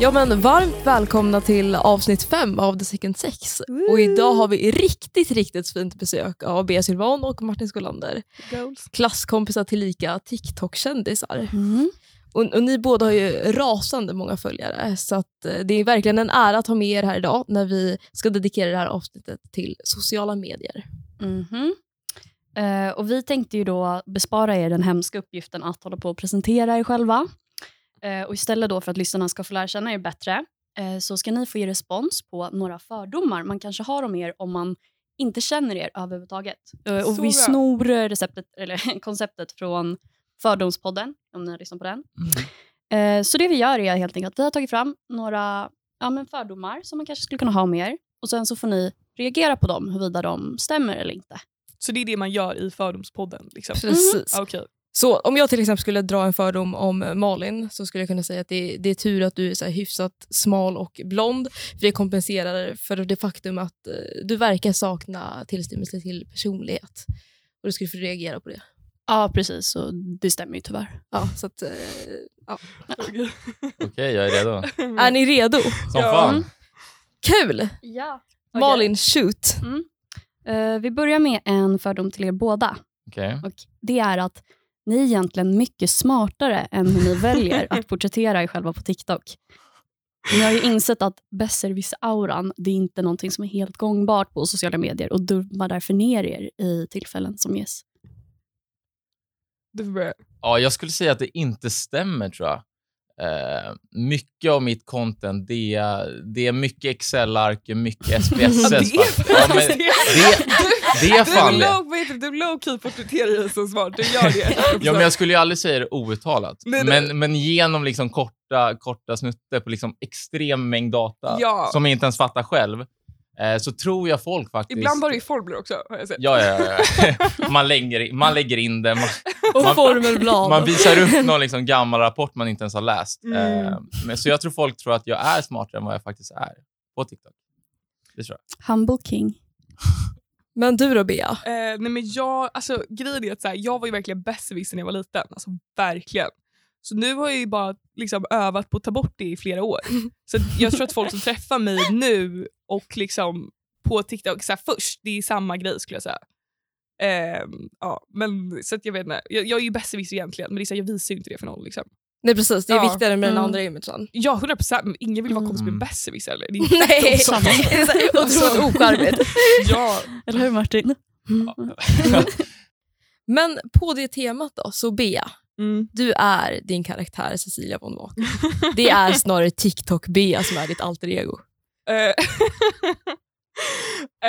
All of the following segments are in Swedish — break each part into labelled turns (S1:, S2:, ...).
S1: Ja men varmt välkomna till avsnitt fem av The Second Sex.
S2: Woo!
S1: Och idag har vi riktigt, riktigt fint besök av Bea Sylvan och Martin Skolander.
S2: Goals.
S1: Klasskompisar tillika TikTok-kändisar.
S2: Mm,
S1: Och, och ni båda har ju rasande många följare så att eh, det är verkligen en ära att ha med er här idag när vi ska dedikera det här avsnittet till sociala medier.
S2: Mhm. Eh, och vi tänkte ju då bespara er den hemska uppgiften att hålla på och presentera er själva. Eh, och istället då för att lyssnarna ska få lära känna er bättre eh, så ska ni få ge respons på några fördomar man kanske har om er om man inte känner er överhuvudtaget. Eh,
S1: Så
S2: och
S1: bra.
S2: vi snor eh, receptet, eller, konceptet från Fördomspodden, om ni har lyssnat på den.
S1: Mm.
S2: Eh, Så det vi gör är helt enkelt att vi har tagit fram några ja, men fördomar som man kanske skulle kunna ha med er. Och sen så får ni reagera på dem, huruvida de stämmer eller inte.
S1: Mm-hmm.
S3: Så det är det man gör i Fördomspodden. Liksom.
S2: Mm.
S1: Precis.
S3: Ah, Okej.
S1: Så om jag till exempel skulle dra en fördom om eh, Malin så skulle jag kunna säga att det, det är tur att du är så här hyfsat smal och blond. För det kompenserar för det faktum att eh, du verkar sakna tillstymmelse till personlighet. Och du skulle få reagera på det.
S2: Ja, precis. Så det stämmer ju tyvärr.
S1: Ja, så att, eh, ja.
S3: Okej.
S4: Okej, jag är redo.
S3: Mm.
S1: Är ni redo?
S4: Som
S3: Ja. Mm.
S4: fan.
S1: Kul!
S2: Ja.
S1: Malin, shoot!
S2: Eh, vi börjar med en fördom till er båda.
S4: Okej.
S2: Och det är att ni är egentligen mycket smartare än hur ni väljer att porträttera er själva på TikTok. Ni har ju insett att besserwisser-auran, det är inte någonting som är helt gångbart på sociala medier och dummar därför ner er i tillfällen som ges.
S3: Du får börja.
S4: Ja, jag skulle säga att det inte stämmer, tror jag. Eh, mycket av mitt content, det är, det är mycket Excel-ark, mycket SPSS.
S3: Alltså,
S4: va? ja, men det, det är
S3: Du
S4: fan det.
S3: low, vad heter det? Du low-key porträtterar dig som smart. Du gör det.
S4: Ja, men jag skulle ju aldrig säga det outtalat,
S3: Nej, nej.
S4: men, men genom liksom korta, korta snutter på liksom extrem mängd data
S3: Ja.
S4: som jag inte ens fattar själv, eh, så tror jag folk faktiskt...
S3: Ibland var det ju formler också. Har jag sett.
S4: Ja, ja, ja, ja. Man, lägger, in- man lägger in det, man,
S1: Och
S4: Man-
S1: formelblad.
S4: Man visar upp någon liksom gammal rapport man inte ens har läst.
S3: Mm.
S4: Eh, men, så jag tror folk tror att jag är smartare än vad jag faktiskt är på TikTok. Det tror jag.
S2: Humble king.
S1: Men du då Bea?
S3: Eh, nej, men jag, alltså, grejen är att så här, jag var ju verkligen besserwisser när jag var liten. Alltså, verkligen. Så nu har jag ju bara liksom, övat på att ta bort det i flera år. Så att jag tror att folk som träffar mig nu och liksom på TikTok så här, först, det är samma grej skulle jag säga. Ehm, ja, men så att jag vet inte. Jag, jag är ju besserwisser egentligen, men det är så här, jag visar ju inte det för någon. Liksom.
S1: Nej precis, det är
S3: Ja.
S1: viktigare med den
S2: Mm.
S1: andra imagen.
S3: Ja, 100 procent. Ingen vill vara kompis med en
S4: Mm.
S3: besserwisser. eller? Det är-
S1: Nej!
S3: Alltså.
S2: Samma.
S1: Det är så här Otroligt ocharmigt.
S3: Ja,
S2: Eller hur Martin?
S1: Men på det temat då, så Bea,
S3: mm.
S1: du är din karaktär Cecilia von Wagner. Det är snarare TikTok-Bea som är ditt alter ego.
S3: Eh,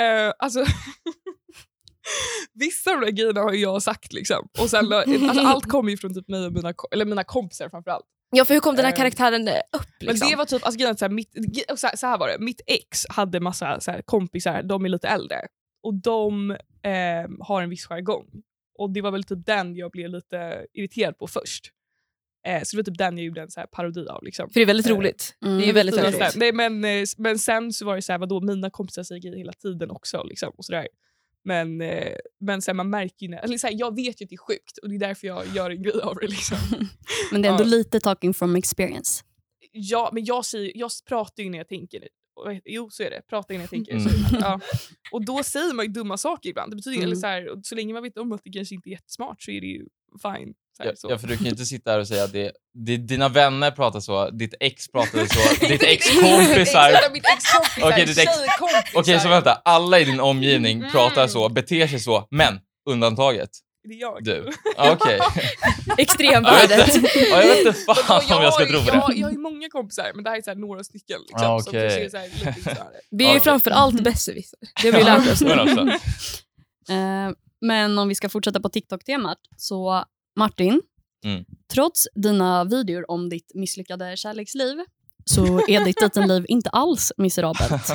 S3: eh, alltså, vissa av de där grejerna har ju jag sagt. Liksom. Och sen, alltså, allt kommer ju från typ mig och mina, ko- eller mina kompisar framförallt.
S1: Ja, för hur kom den här
S3: Eh,
S1: karaktären eh, upp?
S3: Men
S1: Liksom?
S3: det var typ, alltså, grejen, är att så, här, mitt, ge- och så, här, så här var det, mitt ex hade massa så här, kompisar, de är lite äldre. Och de eh, har en viss jargong. Och det var väl typ den jag blev lite irriterad på först. Eh, så det var typ den jag gjorde en så här parodi av. Liksom.
S1: För det är väldigt
S3: Eh,
S1: roligt.
S2: Mm.
S1: Det är ju väldigt,
S3: Typ
S1: väldigt
S3: såhär.
S1: roligt.
S3: Nej, men, eh, men sen så var det så här, vadå, mina kompisar säger grejer hela tiden också. Liksom, och sådär. Men, eh, men så här, man märker ju, när, eller så här, jag vet ju att det är sjukt och det är därför jag gör en grej av det. Liksom.
S2: Men det är ändå
S3: Ja.
S2: lite talking from experience.
S3: Ja, men jag, säger, jag pratar ju när jag tänker. Och vad heter- Jo, så är det. Pratar ju när jag tänker. Så,
S4: Mm.
S3: ja. Och då säger man ju dumma saker ibland. Det betyder,
S2: Mm.
S3: eller så, här, och så länge man vet om att det kanske inte är jättesmart så är det ju fine. Så här,
S4: Ja,
S3: så.
S4: ja, för du kan ju inte sitta här och säga att det, det, dina vänner pratar så, ditt ex pratade så, ditt ex kompisar...
S3: Exakt, Mitt ex-kompisar,
S4: Okej, ditt ex-
S3: tjejkompisar.
S4: Okej, så vänta. Alla i din omgivning
S3: Mm.
S4: pratar så, beter sig så, men undantaget,
S3: Det är jag.
S4: du. Ja, Okej.
S1: Extremvärdet.
S4: Ja, jag vet inte
S3: Men då,
S4: fan om jag ska
S3: har
S4: tro
S3: ju-
S4: på
S3: jag,
S4: det.
S3: har- jag har ju många kompisar, men det här är så här några stycken. Liksom,
S4: Ah,
S3: som
S4: okej.
S3: kanske är så här lite större.
S1: Vi är ju
S4: Ja.
S1: framförallt besserwisser. Det har vi lärt oss.
S4: Men alltså,
S2: Eh, men om vi ska fortsätta på TikTok-temat, så Martin,
S4: Mm.
S2: trots dina videor om ditt misslyckade kärleksliv så är ditt dejtingliv inte alls miserabelt.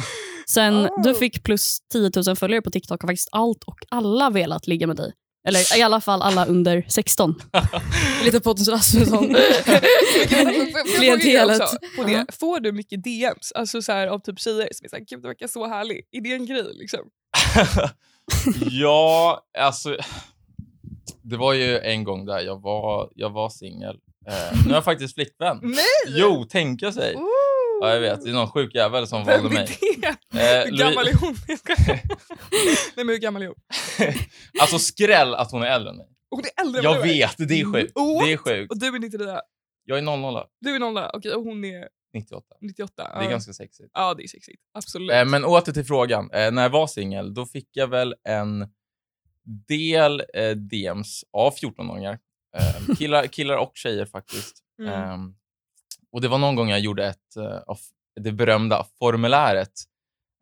S2: Sen
S3: Oh.
S2: du fick plus 10 000 följare på TikTok har faktiskt allt och alla velat ligga med dig. Eller i alla fall alla under 16.
S1: Lite Pontus Rasmusson. Klientelet.
S3: Klientelet. På det. Får du mycket DMs alltså så här, av typ tjejer som är såhär, gud du verkar så härlig. Är det en grej liksom?
S4: ja, alltså... Det var ju en gång där jag
S3: Mm.
S4: var, jag var singel. Eh, nu har jag faktiskt flickvän.
S3: Nej!
S4: Jo, tänka sig. Ja, jag vet. Det är någon sjuk jävel som
S3: Vem är
S4: valde mig.
S3: det?
S4: Eh,
S3: Hur
S4: Louis-
S3: gammal är hon? Jag skojar. Nej men hur gammal är hon?
S4: alltså skräll att hon är äldre än mig.
S3: Hon är äldre än vad
S4: Jag
S3: du är. Mm.
S4: vet, det är sjukt.
S3: What?
S4: Det är sjukt.
S3: Och du är 99.
S4: Jag är 00,
S3: Du är 00, okej och hon är
S4: 98.
S3: 98.
S4: Det är
S3: Ja.
S4: ganska sexigt.
S3: Ja det är sexigt. Absolut.
S4: Eh, Men åter till frågan. Eh, När jag var singel, då fick jag väl en del eh, DMs av 14-åringar. Eh, Killar, killar och tjejer faktiskt.
S3: Mm.
S4: Ehm, och det var någon gång jag gjorde ett, eh, av det berömda formuläret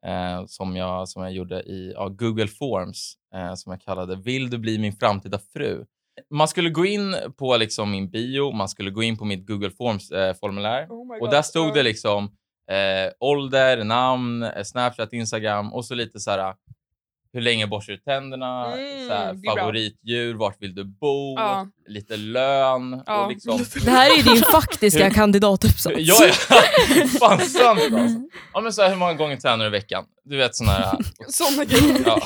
S4: eh, som, jag, som jag gjorde i ja, Google Forms eh, som jag kallade Vill du bli min framtida fru? Man skulle gå in på liksom min bio, man skulle gå in på mitt Google Forms-formulär
S3: Oh my
S4: och
S3: God.
S4: där stod
S3: Ja.
S4: det liksom eh, ålder, namn, eh, Snapchat, Instagram och så lite så här hur länge borstar du tänderna,
S3: Mm,
S4: så här,
S3: det är bra.
S4: favoritdjur, vart vill du bo,
S3: Ja.
S4: lite lön
S3: Ja.
S4: och liksom
S1: Det här är ju din faktiska
S4: Hur-
S1: kandidatuppsats.
S4: Ja, ja. Fan, sant alltså.
S3: Mm.
S4: Ja, men så här, hur många gånger tränar du i veckan? Du vet sån här...
S3: Såna grejer.
S4: Ja,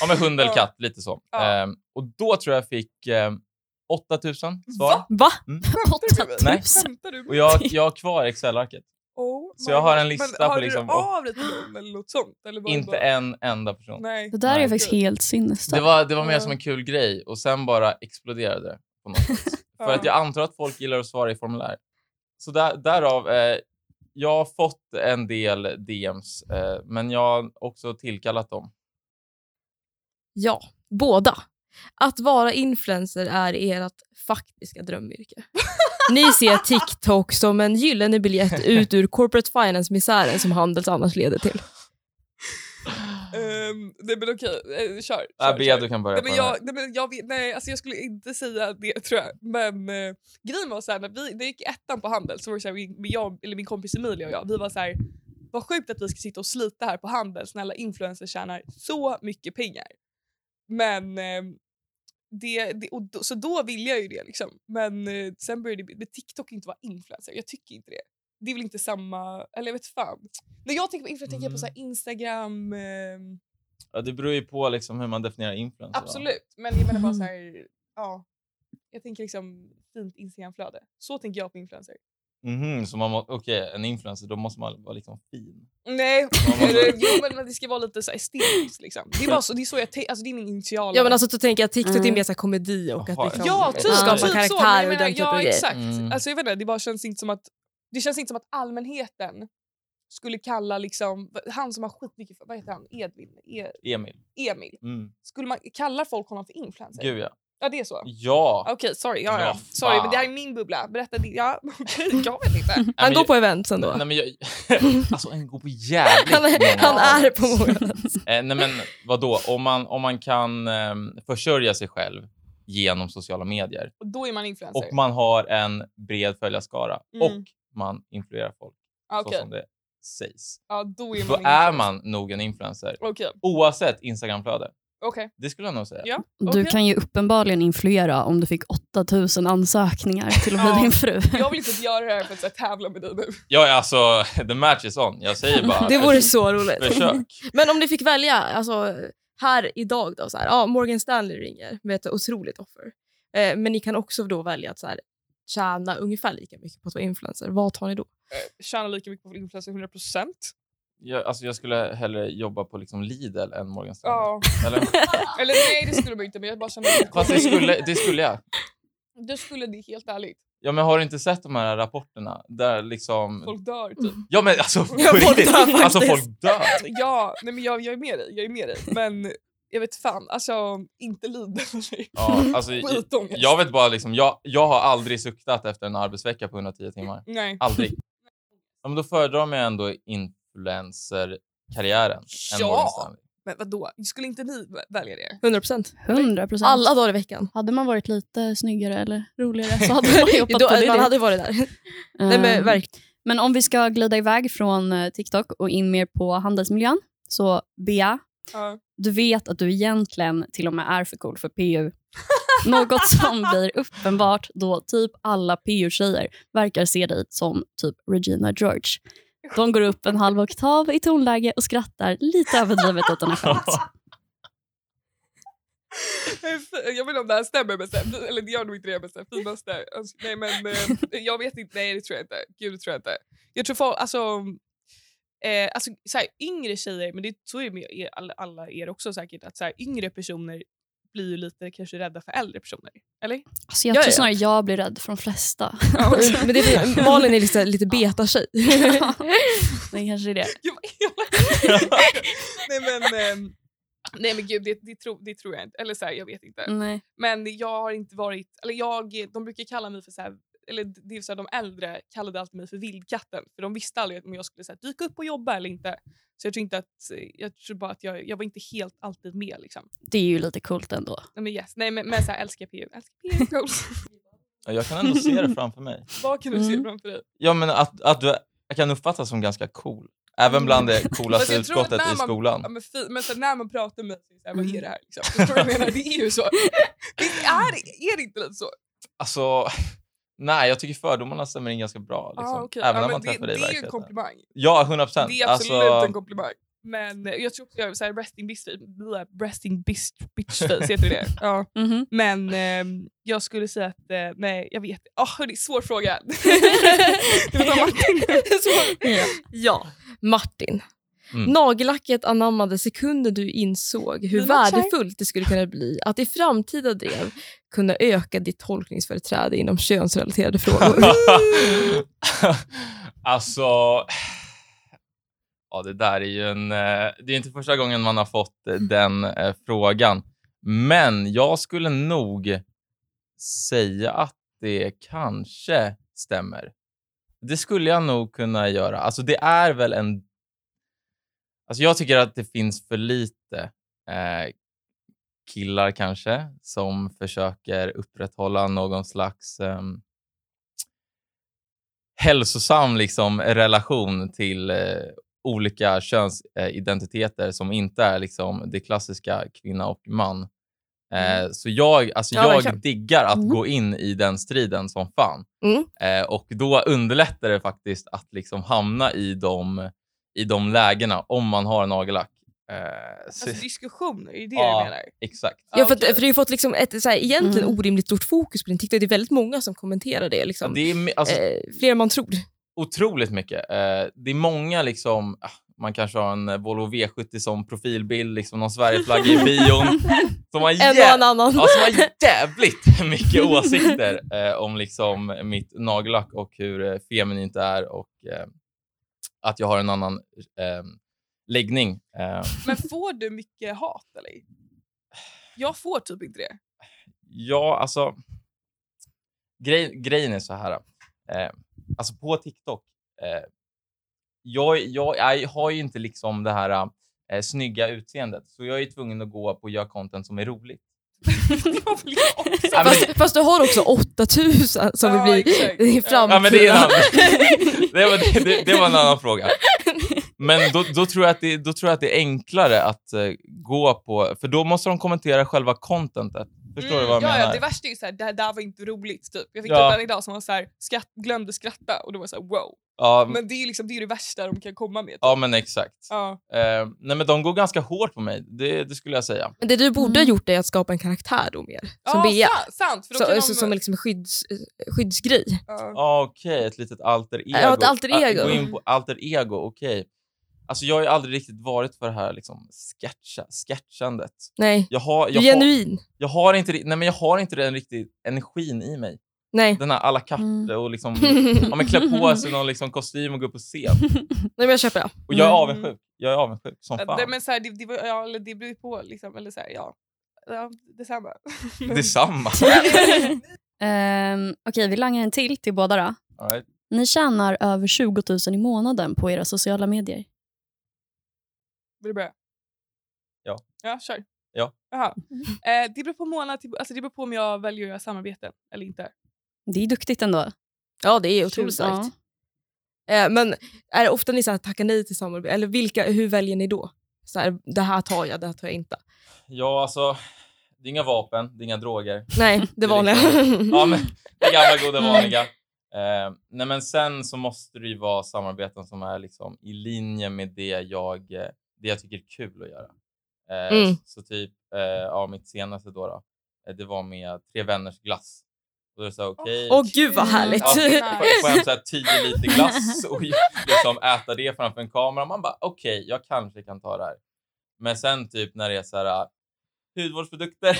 S4: ja men hund eller
S3: Ja.
S4: katt, lite så.
S3: Ja.
S4: Ehm, och då tror jag fick ehm, 8000 svar.
S3: Va?
S1: Va?
S4: Nej.
S2: 8000.
S3: Skämtar du? med
S4: Och
S3: mig?
S4: jag, jag har kvar Excel-arket.
S3: Oh
S4: så
S3: my
S4: jag har en
S3: God.
S4: lista
S3: Men
S4: på
S3: hörde
S4: liksom-
S3: du av dig till någon eller något sånt? Eller var det
S4: Inte
S3: bara-
S4: en enda person.
S3: Nej.
S2: Det där är
S4: Nej.
S2: ju faktiskt helt
S4: Det
S2: sinnesstört.
S4: var, det var mer
S3: Ja.
S4: som en kul grej och sen bara exploderade det. På något sätt. För att jag antar att folk gillar att svara i formulär. Så där, därav, eh, jag har fått en del DMs, eh, men jag har också tillkallat dem.
S1: Ja, båda. Att vara influencer är ert faktiska drömyrke. Ni ser TikTok som en gyllene biljett ut ur corporate finance-misären som Handels annars leder till.
S3: Ehm, nej men okej, eh, kör. kör,
S4: Äh, Bea,
S3: kör.
S4: du kan börja
S3: Nej,
S4: på
S3: men
S4: den här.
S3: jag, nej, men jag, vet- nej alltså jag skulle inte säga det tror jag. Men eh, grejen var så här, när vi när jag gick i ettan på handel så var det så här, vi, vi- jag, eller min kompis Emilia och jag, vi var så här, vad sjukt att vi ska sitta och slita här på handel. Snälla influencers tjänar så mycket pengar. Men eh, det, det, och då, så då ville jag ju det liksom. Men eh, sen började det, men TikTok inte vara influencer. Jag tycker inte det. Det är väl inte samma, eller jag vet fan. När jag tänker på influencer tänker jag
S4: Mm.
S3: på så här Instagram, ehm,
S4: Ja, det beror ju på liksom hur man definierar influencer. va?
S3: Absolut, men jag menar bara så här, ja. Jag tänker liksom fint Instagramflöde. Så tänker jag på influencer.
S4: Mhm, så man må- Okej, en influencer, då måste man vara liksom fin.
S3: Nej,
S4: Man måste,
S3: eller, jo, men, men det ska vara lite så här estetiskt liksom. Det är, bara så, det är så jag tänker, alltså det är min initiala.
S1: Ja, men alltså, då tänker jag att TikTok är
S2: Mm.
S1: mer så här komedi och att
S4: Jaha,
S1: liksom
S3: ja, typ,
S1: skapa
S3: typ så. men jag
S1: karaktärer och
S3: menar,
S1: den typen av
S3: Ja,
S1: grejer.
S3: exakt.
S4: Mm.
S3: Alltså jag vet inte, det bara känns inte som att, det känns inte som att allmänheten skulle kalla liksom, han som har skitmycket, vad heter han, Edvin, e,
S4: Emil.
S3: Emil.
S4: Mm.
S3: Skulle man kalla folk honom för influencer?
S4: Gud ja.
S3: Ja, det är så.
S4: Ja!
S3: Okej, sorry. Ja,
S4: Ja,
S3: ja.
S4: fan.
S3: Sorry, men det här är min bubbla. Berätta din. Ja, okej, jag vet inte.
S1: Han
S4: Nej, men
S1: går
S4: jag-
S1: på event sen då.
S4: Nej, men jag, alltså en går på jävligt
S1: Han, är-
S4: många
S1: han är
S4: events.
S1: på många.
S4: Eh, nej men vadå, om man, om man kan eh, försörja sig själv genom sociala medier
S3: Och då är man influencer.
S4: och man har en bred följarskara
S3: Mm.
S4: och man influerar folk
S3: Ah,
S4: så
S3: Okej,
S4: som det sägs.
S3: ja, då är man
S4: Då är man nog en influencer
S3: Okej,
S4: oavsett Instagramflöde.
S3: okej.
S4: Det skulle jag nog säga.
S3: Ja.
S2: Du
S3: Okej.
S2: kan ju uppenbarligen influera om du fick 8000 ansökningar till och med
S3: Ja.
S2: din fru.
S3: Jag vill inte göra det här för att så här, tävla med dig nu.
S4: Jag är alltså, the match is on. Jag säger bara
S1: Det vore så roligt.
S4: försök.
S1: Men om ni fick välja, alltså, här idag då, så här, ja, Morgan Stanley ringer med ett otroligt offer. Eh, men ni kan också då välja att så här, tjäna ungefär lika mycket på att vara influencer. Vad tar ni då?
S3: Eh, Tjänar lika mycket på influencer 100 procent.
S4: Jag, alltså, jag skulle hellre jobba på liksom Lidl än Morgan Stanley.
S3: Ja.
S4: Eller?
S3: Eller nej, det skulle man inte. Men jag bara känner att
S4: Mm. Fast det skulle, det skulle jag.
S3: Du skulle det helt ärligt.
S4: Ja, men har du inte sett de här rapporterna? Där liksom,
S3: Folk dör typ.
S4: Ja men alltså
S1: Ja,
S4: på
S1: folk
S4: riktigt.
S1: dör faktiskt.
S4: Alltså folk dör.
S3: Ja, nej, men jag, jag är med dig. Jag är med dig. Men jag vet fan, alltså inte lida för sig.
S4: Ja, alltså,
S3: Skitångest.
S4: jag vet bara liksom, jag, jag har aldrig suktat efter en arbetsvecka på 110 timmar.
S3: Nej.
S4: Aldrig. Ja, men då föredrar man ju ändå influencer-karriären. än Morgan
S3: Ja,
S4: Stanley.
S3: men vadå? Skulle inte ni vä- välja det?
S1: 100 procent.
S2: 100 procent.
S1: Alla dagar i veckan.
S2: Hade man varit lite snyggare eller roligare så hade man jobbat
S1: Då,
S2: på det.
S1: man hade varit där. Ehm. Nej, men,
S2: men,
S1: verkligen.
S2: men om vi ska glida iväg från eh, TikTok och in mer på handelsmiljön. Så Bea,
S3: Ja.
S2: du vet att du egentligen till och med är för cool för PU. Något som blir uppenbart då typ alla PU-tjejer verkar se dig som typ Regina George. De går upp en halv oktav i tonläge och skrattar lite överdrivet åt dina skämt.
S3: Jag vet inte om det här stämmer, men så här, eller det gör nog inte det, men så här, finaste. Alltså, nej, men eh, jag vet inte. Nej, det tror jag inte. Gud, det tror jag inte. Jag tror folk, alltså, eh, alltså så här, yngre tjejer, men det tror jag med er, alla, alla er också säkert, att så här, yngre personer blir ju lite kanske rädda för äldre personer. Eller?
S2: Alltså, jag
S1: Ja,
S2: tror
S1: ja.
S2: snarare jag blir rädd för de flesta.
S1: Men det är, för- Malin är liksom lite beta-tjej.
S2: det kanske är det.
S3: Gud, vad elak. nej, men, ehm, nej men gud, det, det, tro, det tror jag inte. Eller så här, jag vet inte.
S2: Nej.
S3: Men jag har inte varit... Eller jag, de brukar kalla mig för... så här, eller det är så här, De äldre kallade alltid mig för vildkatten. För De visste aldrig om jag skulle så här, dyka upp och jobba eller inte. Så jag tror inte att... Jag tror bara att jag, jag var inte helt alltid med. Liksom.
S2: Det är ju lite coolt ändå.
S3: Nej, men yes. Nej, men, men så här, älskar PU. Älskar PU. goals.
S4: Ja, Jag kan ändå se det framför mig.
S3: Vad kan du se
S2: Mm.
S3: framför dig?
S4: Ja, men att, att du, jag kan uppfattas som ganska cool. Även bland det
S3: Mm. Fast
S4: coolaste
S3: jag tror att
S4: utskottet
S3: när
S4: i
S3: man-
S4: skolan.
S3: Ja, men fi, men så här, när man pratar med mig, så här, vad
S2: Mm.
S3: är det här? Liksom? Förstår du vad jag menar? Det är ju så. Visst är, det- är det inte lite så?
S4: Alltså, nej, jag tycker fördomarna stämmer in ganska bra. Liksom.
S3: Ah, okej.
S4: Även
S3: Ja,
S4: om man
S3: men det,
S4: träffar dig i
S3: det är ju en
S4: verkligheten.
S3: komplimang.
S4: Ja, 100 procent. Alltså,
S3: Det är absolut en komplimang. Men eh, jag tror också jag är såhär resting bitch face. Resting bitch, bitch face, heter det ja.
S2: Mhm.
S3: Men ehm, jag skulle säga att, eh, nej jag vet oh, hörni, svår fråga. Alltså, det var Martin.
S1: ja. Martin.
S4: Mm.
S1: Nagellacket anammade sekunden du insåg hur
S3: Det matchar.
S1: värdefullt det skulle kunna bli att i framtida drev kunna öka ditt tolkningsföreträde inom könsrelaterade frågor.
S4: alltså... Ja, det där är ju en... eh, Det är inte första gången man har fått eh, den eh, frågan. Men jag skulle nog säga att det kanske stämmer. Det skulle jag nog kunna göra. Alltså, det är väl en... Alltså, jag tycker att det finns för lite eh, killar kanske som försöker upprätthålla någon slags... ehm, hälsosam liksom, relation till eh, olika könsidentiteter som inte är liksom, det klassiska kvinna och man. Eh, så jag, alltså,
S1: Mm. Ja,
S4: jag
S1: verkligen.
S4: diggar att
S1: Mm.
S4: gå in i den striden som fan.
S1: Mm.
S4: Eh, och då underlättar det faktiskt att liksom hamna i de, i de lägena om man har nagellack. Eh, så,
S3: Alltså diskussioner, är det det
S4: Ja.
S3: du menar?
S4: exakt.
S1: Ja, för, att,
S3: okej.
S1: för det har ju fått liksom ett så här, egentligen
S2: Mm.
S1: orimligt stort fokus på din TikTok. Det är väldigt många som kommenterar det. Liksom.
S4: Det är, me- alltså,
S1: eh, fler än man tror.
S4: otroligt mycket. Eh, det är många liksom, ah, man kanske har en eh, Volvo V70 som profilbild, liksom någon Sverigeflagga i bion. som har
S1: En och en
S4: jä-
S1: annan.
S4: Ja, som har jävligt mycket åsikter eh, om liksom mitt nagellack och hur eh, feminint det är och eh, att jag har en annan eh, läggning. Eh,
S3: Men får du mycket hat eller? Jag får typ inte det.
S4: Ja, alltså. Grej, grejen är så här. Eh, alltså på TikTok. Eh, jag, jag, jag har ju inte liksom det här eh, snygga utseendet, så jag är tvungen att gå på och göra content som är roligt.
S3: Det var väl jag också.
S4: Ja, men-
S1: Fast, fast du har också 8000 som
S3: Ja,
S1: vill
S3: exakt.
S1: bli i
S3: Ja,
S1: framtiden.
S4: Ja, men det, är en annan, det, var, det, det var en annan fråga. Men då, då, tror jag att det, då tror jag att det är enklare att eh, gå på, för då måste de kommentera själva contentet. Förstår du
S3: Mm,
S4: vad jag
S3: ja,
S4: menar?
S3: Ja, det värsta är ju såhär, det här där var inte roligt. Typ. Jag fick
S4: Ja.
S3: ja. en idag som var såhär, skratt, glömde skratta och då var jag såhär wow.
S4: ja,
S3: Men det är ju liksom, det, är ju det värsta de kan komma med. Typ.
S4: ja, men exakt.
S3: Ja.
S4: Eh, nej, men de går ganska hårt på mig, det, det skulle jag säga.
S1: Men det du borde ha
S2: Mm.
S1: gjort är att skapa en karaktär då mer. Som
S3: ja,
S1: Bea.
S3: sa- Sant, för då
S1: Så,
S3: kan de,
S1: så, som liksom en skydds, skyddsgrej.
S3: ja.
S4: Ah, okej, ett litet alter ego.
S1: Äh, Ja, ett alter
S4: Ah,
S1: ego.
S4: Gå in på alter ego, okej. Alltså, jag har ju aldrig riktigt varit för det här liksom, sketcha, sketchandet.
S1: Nej,
S4: Jag har,
S1: du är
S4: jag, har,
S1: genuin.
S4: jag, har inte, ri- nej, men jag har inte den riktigt energin i mig.
S1: Nej.
S4: Den här alla carte
S2: Mm.
S4: och liksom, ja, men klä på sig någon liksom, kostym och gå upp på scen.
S1: Nej, men jag köper det.
S4: Och jag är
S2: Mm.
S4: avundsjuk. Jag är avundsjuk som
S3: Ja, det,
S4: fan.
S3: men såhär, det, det, var- ja, eller det beror ju på liksom, eller såhär, ja. ja detsamma.
S4: Detsamma.
S2: Ehm, Okej, vi langar en till till båda då.
S4: All right.
S2: Ni tjänar över 20 000 i månaden på era sociala medier.
S3: Vill du börja?
S4: Ja.
S3: Ja, kör.
S4: Ja.
S3: Jaha. Eh, det beror på månad, till- alltså det beror på om jag väljer att göra samarbeten eller inte.
S2: Det är duktigt ändå.
S1: Ja, det är otroligt
S2: Ja.
S1: starkt. Eh, men är det ofta ni så här tackar nej till samarbete? Eller vilka, hur väljer ni då? Så här, det här tar jag, det här tar jag inte.
S4: Ja, alltså, det är inga vapen, det är inga droger.
S1: Nej, det vanliga.
S4: Ja, men det gamla goda
S2: Mm.
S4: vanliga. Eh, nej, men sen så måste det ju vara samarbeten som är liksom i linje med det jag, eh, det jag tycker är kul att göra. Eh,
S1: Mm.
S4: Så typ, eh, ja, mitt senaste då, då eh, det var med Tre Vänners glass. Och då sa jag okej.
S1: Åh gud vad
S3: Mm.
S1: härligt.
S4: Ja,
S3: Typ.
S4: får- får jag så här 10 liter glass och liksom äta det framför en kamera. Man bara okej, jag kanske kan ta det här. Men sen typ när det är så här hudvårdsprodukter.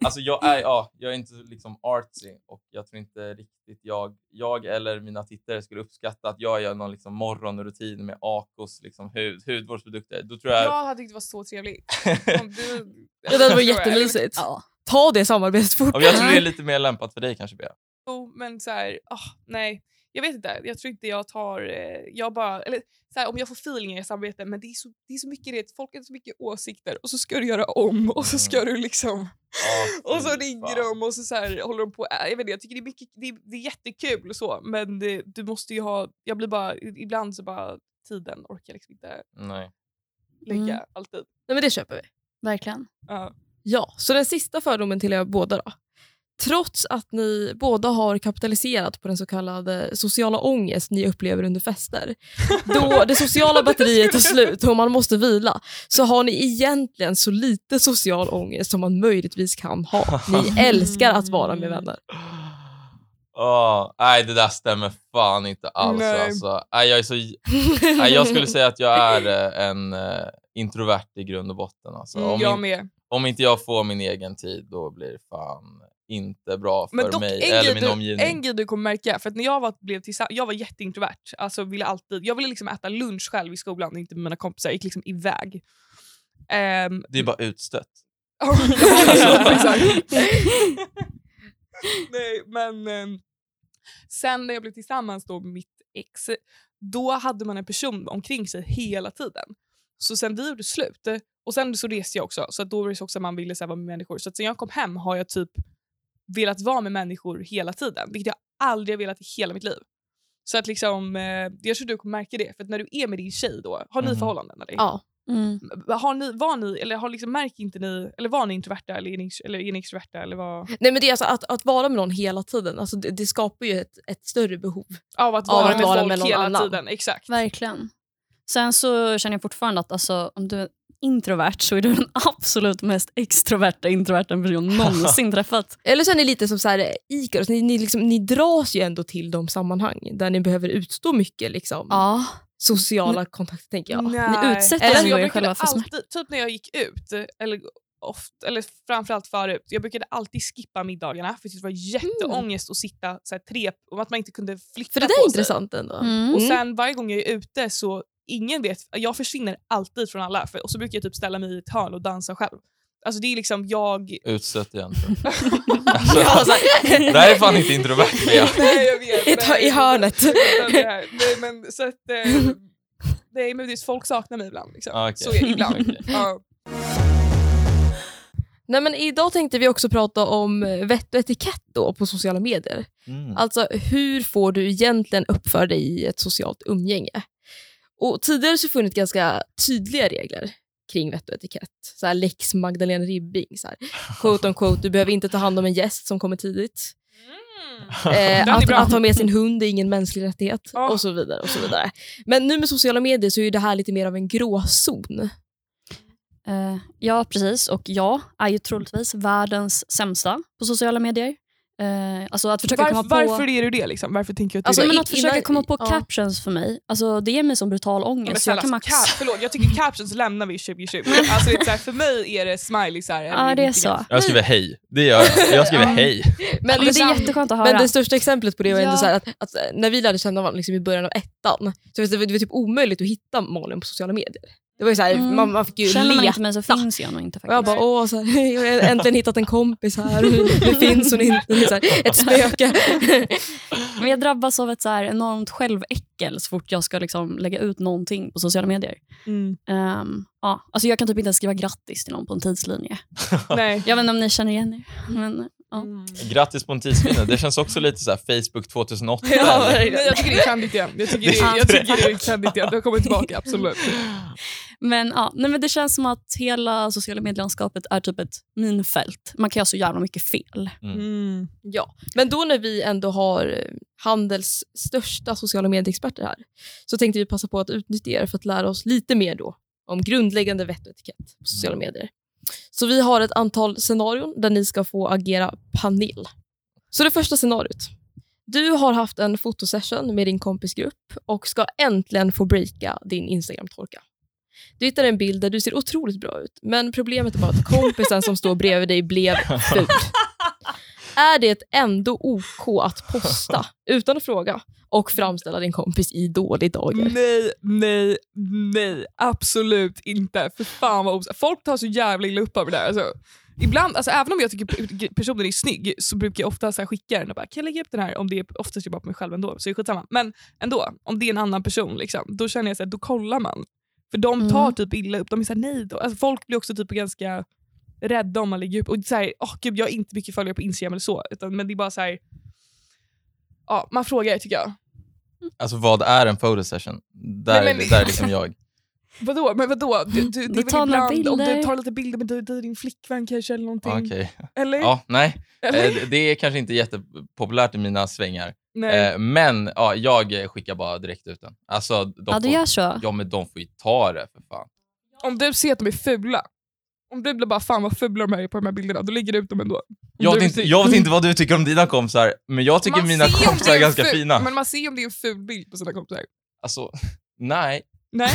S4: alltså jag är, ja, jag är inte liksom artsy och jag tror inte riktigt jag, jag eller mina tittare skulle uppskatta att jag gör någon liksom morgonrutin med Akos liksom hud, hudvårdsprodukter. Då tror jag...
S3: Jag hade tyckt det var så trevligt. Om du...
S1: Ja, det var jättemysigt.
S2: Ja.
S1: Ta det samarbetet fort.
S4: Ja, men jag tror det är lite mer lämpat för dig kanske Bea.
S3: Jo, men så här, ah, nej. Jag vet inte. Jag tror inte jag tar... Eh, jag bara, eller, så här, om jag får feeling i samarbete, men det är, så, det är så mycket det. Folk har så mycket åsikter och så ska du göra om och så ska
S4: Mm.
S3: du liksom...
S4: Ja,
S3: Och så
S4: fy
S3: ringer
S4: fan.
S3: de och så, så här, håller de på. eh, Jag, vet inte, jag tycker det är, mycket, det, är, det är jättekul och så, men det, du måste ju ha... Jag blir bara... Ibland så bara tiden orkar liksom inte
S4: Nej.
S3: lägga
S2: Mm.
S3: alltid.
S1: Nej, men det köper vi.
S2: Verkligen.
S3: Ja.
S1: Ja, så den sista fördomen till er båda då. Trots att ni båda har kapitaliserat på den så kallade sociala ångest ni upplever under fester, då det sociala batteriet tar slut och man måste vila, så har ni egentligen så lite social ångest som man möjligtvis kan ha. Ni älskar att vara med vänner.
S4: Åh, nej, det där stämmer fan inte alls.
S3: Nej.
S4: Alltså. Nej, jag, är så, nej, jag skulle säga att jag är eh, en eh, introvert i grund och botten. Alltså. Om,
S3: Mm, jag
S4: in,
S3: med.
S4: om inte jag får min egen tid, då blir det fan inte bra för
S3: Men dock,
S4: mig
S3: en
S4: eller
S3: grej,
S4: min
S3: du,
S4: omgivning.
S3: en grej du kommer märka, för att när jag var, blev tillsammans, jag var jätteintrovert. Alltså ville alltid, jag ville liksom äta lunch själv i skolan, inte med mina kompisar. Jag gick liksom iväg. Ehm, liksom-
S4: Det är bara utstött.
S3: ja, exakt. Nej, men ehm, sen när jag blev tillsammans då med mitt ex, då hade man en person omkring sig hela tiden. Så sen vi gjorde slut, eh, och sen så reste jag också, så att då var det så också att man ville så här, vara med människor. Så att sen jag kom hem har jag typ velat vara med människor hela tiden, vilket jag aldrig har velat i hela mitt liv. Så att liksom, eh, jag tror du kommer märka det, för att när du är med din tjej då, har ni
S4: Mhm.
S3: förhållanden? Eller?
S1: Ja.
S2: Mm.
S3: har ni, var ni, eller har liksom, märker inte ni, eller var ni introverta eller är ni, eller är ni extroverta? Eller var,
S1: Nej, men det är alltså att, att vara med någon hela tiden, alltså det, det skapar ju ett, ett större behov.
S3: av att
S1: Av
S3: vara,
S1: att
S3: med,
S1: vara
S3: folk
S1: med någon
S3: hela
S1: annan.
S3: tiden. Exakt.
S2: Verkligen. Sen så känner jag fortfarande att alltså, om du är introvert så är du den absolut mest extroverta introverta person jag någonsin träffat.
S1: Eller så är ni lite som så här, eh, Icaros, ni, ni, liksom, ni dras ju ändå till de sammanhang där ni behöver utstå mycket liksom,
S2: Ja.
S1: sociala kontakter. tänker
S3: Mm.
S1: jag.
S2: Ni utsätter
S1: Eller
S2: ju
S3: jag
S2: er
S3: brukade
S2: själva för smärta.
S3: alltid, typ när jag gick ut, eller, ofta, eller framförallt förut, jag brukade alltid skippa middagarna för det var jätteångest att sitta så här, tre, och att man inte kunde flytta
S1: Mm. För det där
S3: på
S1: är
S3: sig.
S1: intressant ändå.
S2: Mm.
S3: Och sen varje gång jag är ute så ingen vet, jag försvinner alltid från alla för, och så brukar jag typ ställa mig i ett hörn och dansa själv. Alltså det är liksom jag...
S4: Utstött igen. tror jag. alltså, det här är fan inte introvert Bea.
S3: Nej, jag vet,
S1: I ett hör-
S3: nej,
S1: i hörnet.
S3: jag vet inte det här. Nej men så att... Eh, nej men det är, folk saknar mig ibland. Liksom.
S4: Ah, okej.
S3: Så är det ibland.
S4: Okej.
S3: Ja.
S1: Nej, men idag tänkte vi också prata om eh, vett och etikett då på sociala medier.
S4: Mm.
S1: Alltså hur får du egentligen uppföra dig i ett socialt umgänge? Och tidigare så funnits ganska tydliga regler kring vett och etikett. Så här lex Magdalena Ribbing. Så här. Quote on quote, du behöver inte ta hand om en gäst som kommer tidigt.
S3: Den är
S1: Eh, att,
S3: bra.
S1: att ha med sin hund är ingen mänsklig rättighet.
S3: Ja.
S1: Och, så vidare, och så vidare. Men nu med sociala medier så är ju det här lite mer av en gråzon.
S2: Eh, ja, precis. Och jag är ju troligtvis världens sämsta på sociala medier. Eh, alltså att försöka
S3: Varför,
S2: komma på...
S3: varför är du det? Liksom? Varför tänker jag att
S1: Alltså,
S3: du
S2: Nej,
S3: är det?
S2: men att
S1: i-
S2: försöka
S1: innan-
S2: komma på
S1: ja.
S2: captions för mig, alltså, det ger mig sån brutal
S3: Ja, men
S2: ångest.
S3: snälla,
S2: jag kan max...
S3: alltså, cap, förlåt, jag tycker captions lämnar vi 2020. Alltså, det är så här, för mig är det smiley. Så här,
S2: Ja, det är så.
S4: Jag skriver hej. Det gör jag. Jag skriver hej.
S1: Men,
S2: Men det är jätteskönt att
S1: Liksom,
S2: höra.
S1: Men det största exemplet på det var ändå
S2: Ja.
S1: så här att, att när vi lärde känna varandra liksom i början av ettan, så det var, det var typ omöjligt att hitta Malin på sociala medier. Det var ju så här,
S2: Mm.
S1: man, man fick ju
S2: Känner man
S1: leta.
S2: inte mig så finns jag nog inte
S1: Och
S2: faktiskt.
S1: jag bara, åh, så här, jag har äntligen hittat en kompis här. Nu finns hon inte. Det är så här, ett spöke.
S2: Men jag drabbas av ett så här enormt själväckel så fort jag ska liksom lägga ut någonting på sociala medier.
S3: Mm.
S2: Ehm, ja. alltså jag kan typ inte ens skriva grattis till någon på en tidslinje.
S3: Nej.
S2: Jag vet inte om ni känner igen er. Men, ja.
S3: Mm.
S4: Grattis på en tidsvinner. Det känns också lite så här Facebook 2008.
S1: Ja,
S4: eller?
S3: Nej, jag tycker det är trendigt igen. Jag tycker det, jag tycker det är trendigt igen. Det har kommit tillbaka, absolut.
S2: Men, ja. Nej, men det känns som att hela sociala medielandskapet är typ ett minfält. Man kan göra så jävla mycket fel.
S3: Mm.
S1: Ja, men då när vi ändå har eh, Handels största sociala medieexperter här så tänkte vi passa på att utnyttja er för att lära oss lite mer då om grundläggande vett och etikett på sociala medier. Så vi har ett antal scenarion där ni ska få agera panel. Så det första scenariot. Du har haft en fotosession med din kompisgrupp och ska äntligen få breaka din Instagram-torka. Du hittar en bild där du ser otroligt bra ut, men problemet är bara att kompisen som står bredvid dig blev ful. Är det ändå OK att posta utan att fråga och framställa din kompis i dålig dager?
S3: Nej, nej, nej. Absolut inte. För fan vad obs- Folk tar så jävla illa upp av det där. Alltså, ibland, alltså, även om jag tycker pe- personen är snygg så brukar jag ofta så här, skicka den och bara “kan jag lägga upp den här?” om det är, Oftast är det bara på mig själv ändå, så det är skitsamma. Men ändå, om det är en annan person, liksom, då känner jag så här, då kollar man. För de tar
S1: Mm.
S3: typ illa upp. De är såhär “nej då”. Alltså, folk blir också typ ganska rädda om man lägger upp. Och så här, åh gud, jag har inte mycket följare på Instagram eller så, utan, men det är bara så här. Ja, man frågar tycker jag.
S4: Alltså vad är en photosession? Där,
S3: Nej, men-
S4: där är liksom jag.
S3: Vadå? Men vadå? Du, du, det är
S2: Då
S3: väl
S2: tar några
S3: ibland om du
S2: bilder.
S3: tar lite bilder med dig, dig och din flickvän kanske eller någonting.
S4: Ah, Okej.
S3: Eller?
S4: Ja, nej.
S3: eller?
S4: Eh, det- Det är kanske inte jättepopulärt i mina svängar.
S3: Nej.
S4: Eh, Men ja, jag eh, skickar bara direkt ut den. Alltså, de
S2: Ja, du
S4: får,
S2: gör så.
S4: ja, men de får ju ta det för fan.
S3: Om du ser att de är fula, om du blir bara fan vad fula de här är på de här bilderna, då lägger du ut dem ändå. Om
S4: Jag
S3: du
S4: vet,
S3: är
S4: inte,
S3: snygg.
S4: jag vet inte vad du tycker om dina kompisar, men jag tycker
S3: Man
S4: mina
S3: ser om
S4: kompisar
S3: det
S4: är ganska
S3: ful-
S4: fina.
S3: Men man ser om det är en ful bild på sina kompisar.
S4: Alltså, nej.
S3: Nej?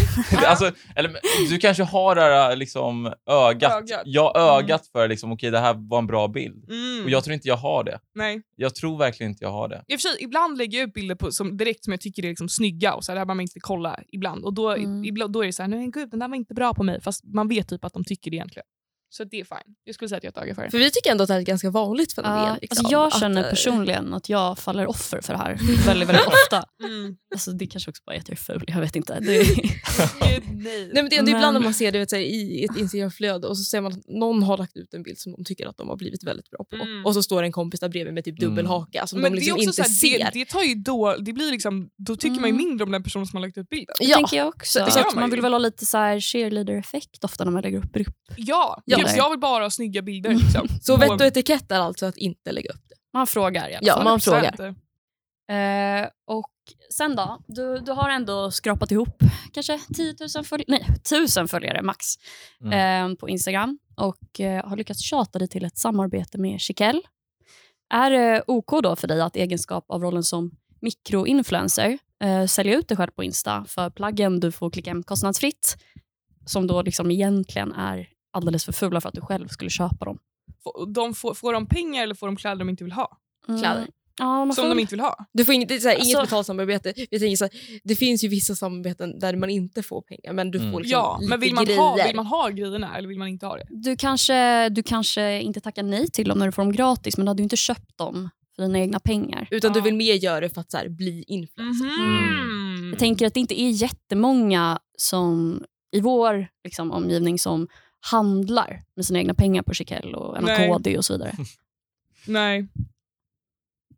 S4: alltså, eller, men du kanske har det här liksom, ögat.
S3: Ögat.
S4: Jag har ögat för liksom, okej, det här var en bra bild.
S3: Mm.
S4: Och jag tror inte jag har det.
S3: Nej.
S4: Jag tror verkligen inte jag har det.
S3: I och för sig, ibland lägger jag ut bilder på, som direkt som jag tycker är liksom snygga och så här, det här behöver man inte kolla ibland. Och då,
S2: Mm.
S3: ibland, då är det så här, nej gud den där var inte bra på mig. Fast man vet typ att de tycker det egentligen. Så det är fine. Jag skulle säga att jag tar för det.
S1: För vi tycker ändå att det här är ett ganska vanligt
S2: Ja,
S1: fenomen. liksom.
S2: alltså jag
S1: Att,
S2: känner
S1: eh,
S2: personligen att jag faller offer för det här väldigt, väldigt ofta.
S3: Mm.
S2: Alltså, det kanske också bara är att jag är ful, jag vet inte. Det,
S3: Gud, nej.
S1: Nej, men det är ändå
S2: Men-
S1: ibland när man ser det vet, så här, i ett Instagramflöde och så ser man att någon har lagt ut en bild som de tycker att de har blivit väldigt bra på.
S3: Mm.
S1: Och så står en kompis där bredvid med typ
S4: Mm.
S1: dubbelhaka som
S3: Men
S1: de liksom
S3: det är
S1: inte
S3: också så
S1: ser.
S3: här, det, det tar ju då, det blir liksom, då tycker man ju
S2: Mm.
S3: mindre om den personen som har lagt ut bilden.
S2: det
S1: Ja,
S2: tänker jag också.
S1: så-
S3: så gör
S2: Att
S3: man
S2: man
S3: ju.
S2: vill väl ha lite så här cheerleader-effekt ofta när man lägger upp grupp.
S3: Ja,
S1: Ja.
S3: typ, jag vill bara ha snygga bilder. Liksom.
S1: Så vett och
S3: På-
S1: etikett är alltså att inte lägga upp det.
S2: Man frågar i alla
S1: Ja,
S2: fall.
S1: man frågar.
S2: Eh, och sen då? Du, du har ändå skrapat ihop kanske 10 000 följare, nej, 1000 följare max eh, på Instagram och eh, har lyckats tjata dig till ett samarbete med Chiquelle. Är det OK då för dig att i egenskap av rollen som mikroinfluencer eh, sälja ut dig själv på Insta för plaggen du får klicka hem kostnadsfritt som då liksom egentligen är alldeles för fula för att du själv skulle köpa dem?
S3: Får- De får, får de pengar eller får de kläder de inte vill ha?
S1: Kläder.
S2: Mm. Ja, man
S3: Som
S2: får
S3: de inte vill ha?
S1: Du får inget, det är så här,
S2: Alltså-
S1: inget betalt samarbete. Jag tänker så här, det finns ju vissa samarbeten där man inte får pengar men du
S4: Mm.
S1: får liksom
S3: Ja,
S1: lite
S3: men vill man,
S1: grejer.
S3: ha, vill man ha grejerna eller vill man inte ha det?
S2: Du kanske, du kanske inte tackar nej till dem när du får dem gratis, men du hade ju inte köpt dem för dina egna pengar.
S1: Utan du
S3: Ja.
S1: vill mer göra det för att så här, bli influencer.
S3: Mm.
S2: Jag tänker att det inte är jättemånga som, i vår liksom, omgivning som handlar med sina egna pengar på Chiquelle och
S3: Nej.
S2: NKD och så vidare.
S3: Nej.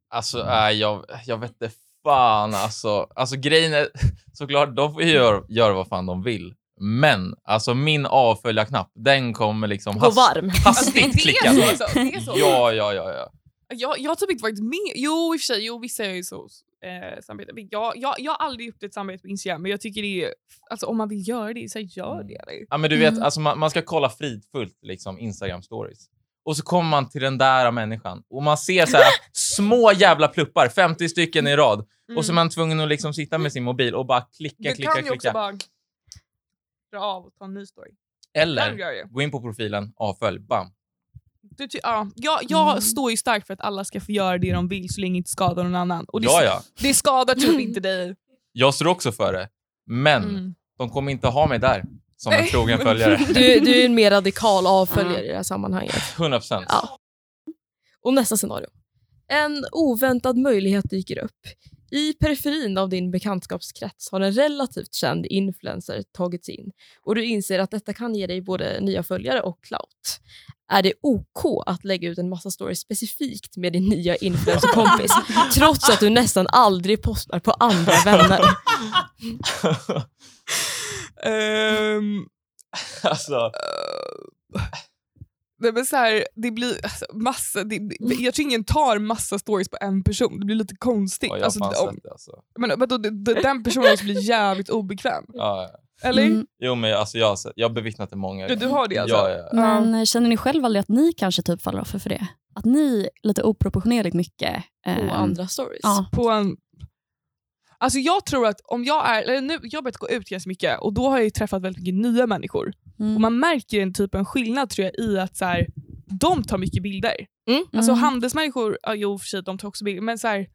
S4: Alltså, äh, jag, jag vet inte fan. Alltså, alltså grejen är såklart, de får ju göra, göra vad fan de vill. Men alltså min avföljarknapp, den kommer liksom
S1: Gå varm.
S3: Alltså, det,
S4: hastigt
S3: det
S4: klickas.
S3: är så. alltså, Det är så.
S4: Ja, ja, ja. ja.
S3: Jag, jag har typ inte varit med. Jo, i och för sig. Jo, vissa är ju så. Eh, samarbete. Men jag, jag, jag har aldrig gjort ett samarbete på Instagram, men jag tycker det är... Alltså, om man vill göra det, så här, gör det. Eller?
S4: ja men du vet,
S2: Mm.
S4: alltså, man, man ska kolla fridfullt liksom, Instagram-stories. Och så kommer man till den där människan och man ser så här, små jävla pluppar, 50 stycken i rad. Och så är man tvungen att liksom sitta med sin mobil och bara
S3: Du
S4: klicka,
S3: Mm. kan
S4: klicka,
S3: ju också
S4: klicka.
S3: bara dra av och ta en ny story. Kan du
S4: Eller
S3: göra det?
S4: gå in på profilen, avfölj, bam.
S3: Du, ty- ja, jag jag
S2: Mm.
S3: står ju starkt för att alla ska få göra det de vill så länge det inte skadar någon annan. Och det,
S4: Ja, ja.
S3: det skadar typ inte dig.
S4: Jag står också för det. Men
S3: Mm.
S4: de kommer inte ha mig där som en
S3: Nej.
S4: trogen följare.
S1: Du, du är en mer radikal avföljare
S3: Mm.
S1: i det här sammanhanget.
S4: 100 procent.
S1: Ja. Och nästa scenario. En oväntad möjlighet dyker upp. I periferin av din bekantskapskrets har en relativt känd influencer tagits in och du inser att detta kan ge dig både nya följare och clout. Är det OK att lägga ut en massa stories specifikt med din nya influencerkompis trots att du nästan aldrig postar på andra vänner?
S3: Ehm,
S4: alltså,
S3: nej, men så här, det blir alltså, massa... Det, det-
S2: Mm.
S3: jag tror ingen tar massa stories på en person. Det blir lite konstigt.
S4: ja, jag har
S3: Alltså,
S4: fan
S3: om,
S4: sett det. Alltså.
S3: men, men då, det- det- den personen också blir jävligt obekväm.
S4: Ja, ja.
S3: Eller?
S2: Mm,
S4: Jo, men jag, alltså, jag, har sett- jag har bevittnat det många
S3: Du, du har det alltså?
S4: Ja, ja, ja.
S2: men känner ni själva aldrig att ni kanske typ faller offer för det? Att ni lite oproportionerligt mycket... ehm,
S4: Mm.
S1: Och andra stories.
S2: Ja.
S3: På en... Alltså jag tror att om jag är... Eller nu, jag har börjat gå ut ganska mycket och då har jag ju träffat väldigt mycket nya människor.
S2: Mm.
S3: Och man märker en typ en skillnad tror jag i att så här, de tar mycket bilder. Alltså
S2: Mm.
S3: handelsmänniskor, ja, jo för sig, de tar också bilder, men så här,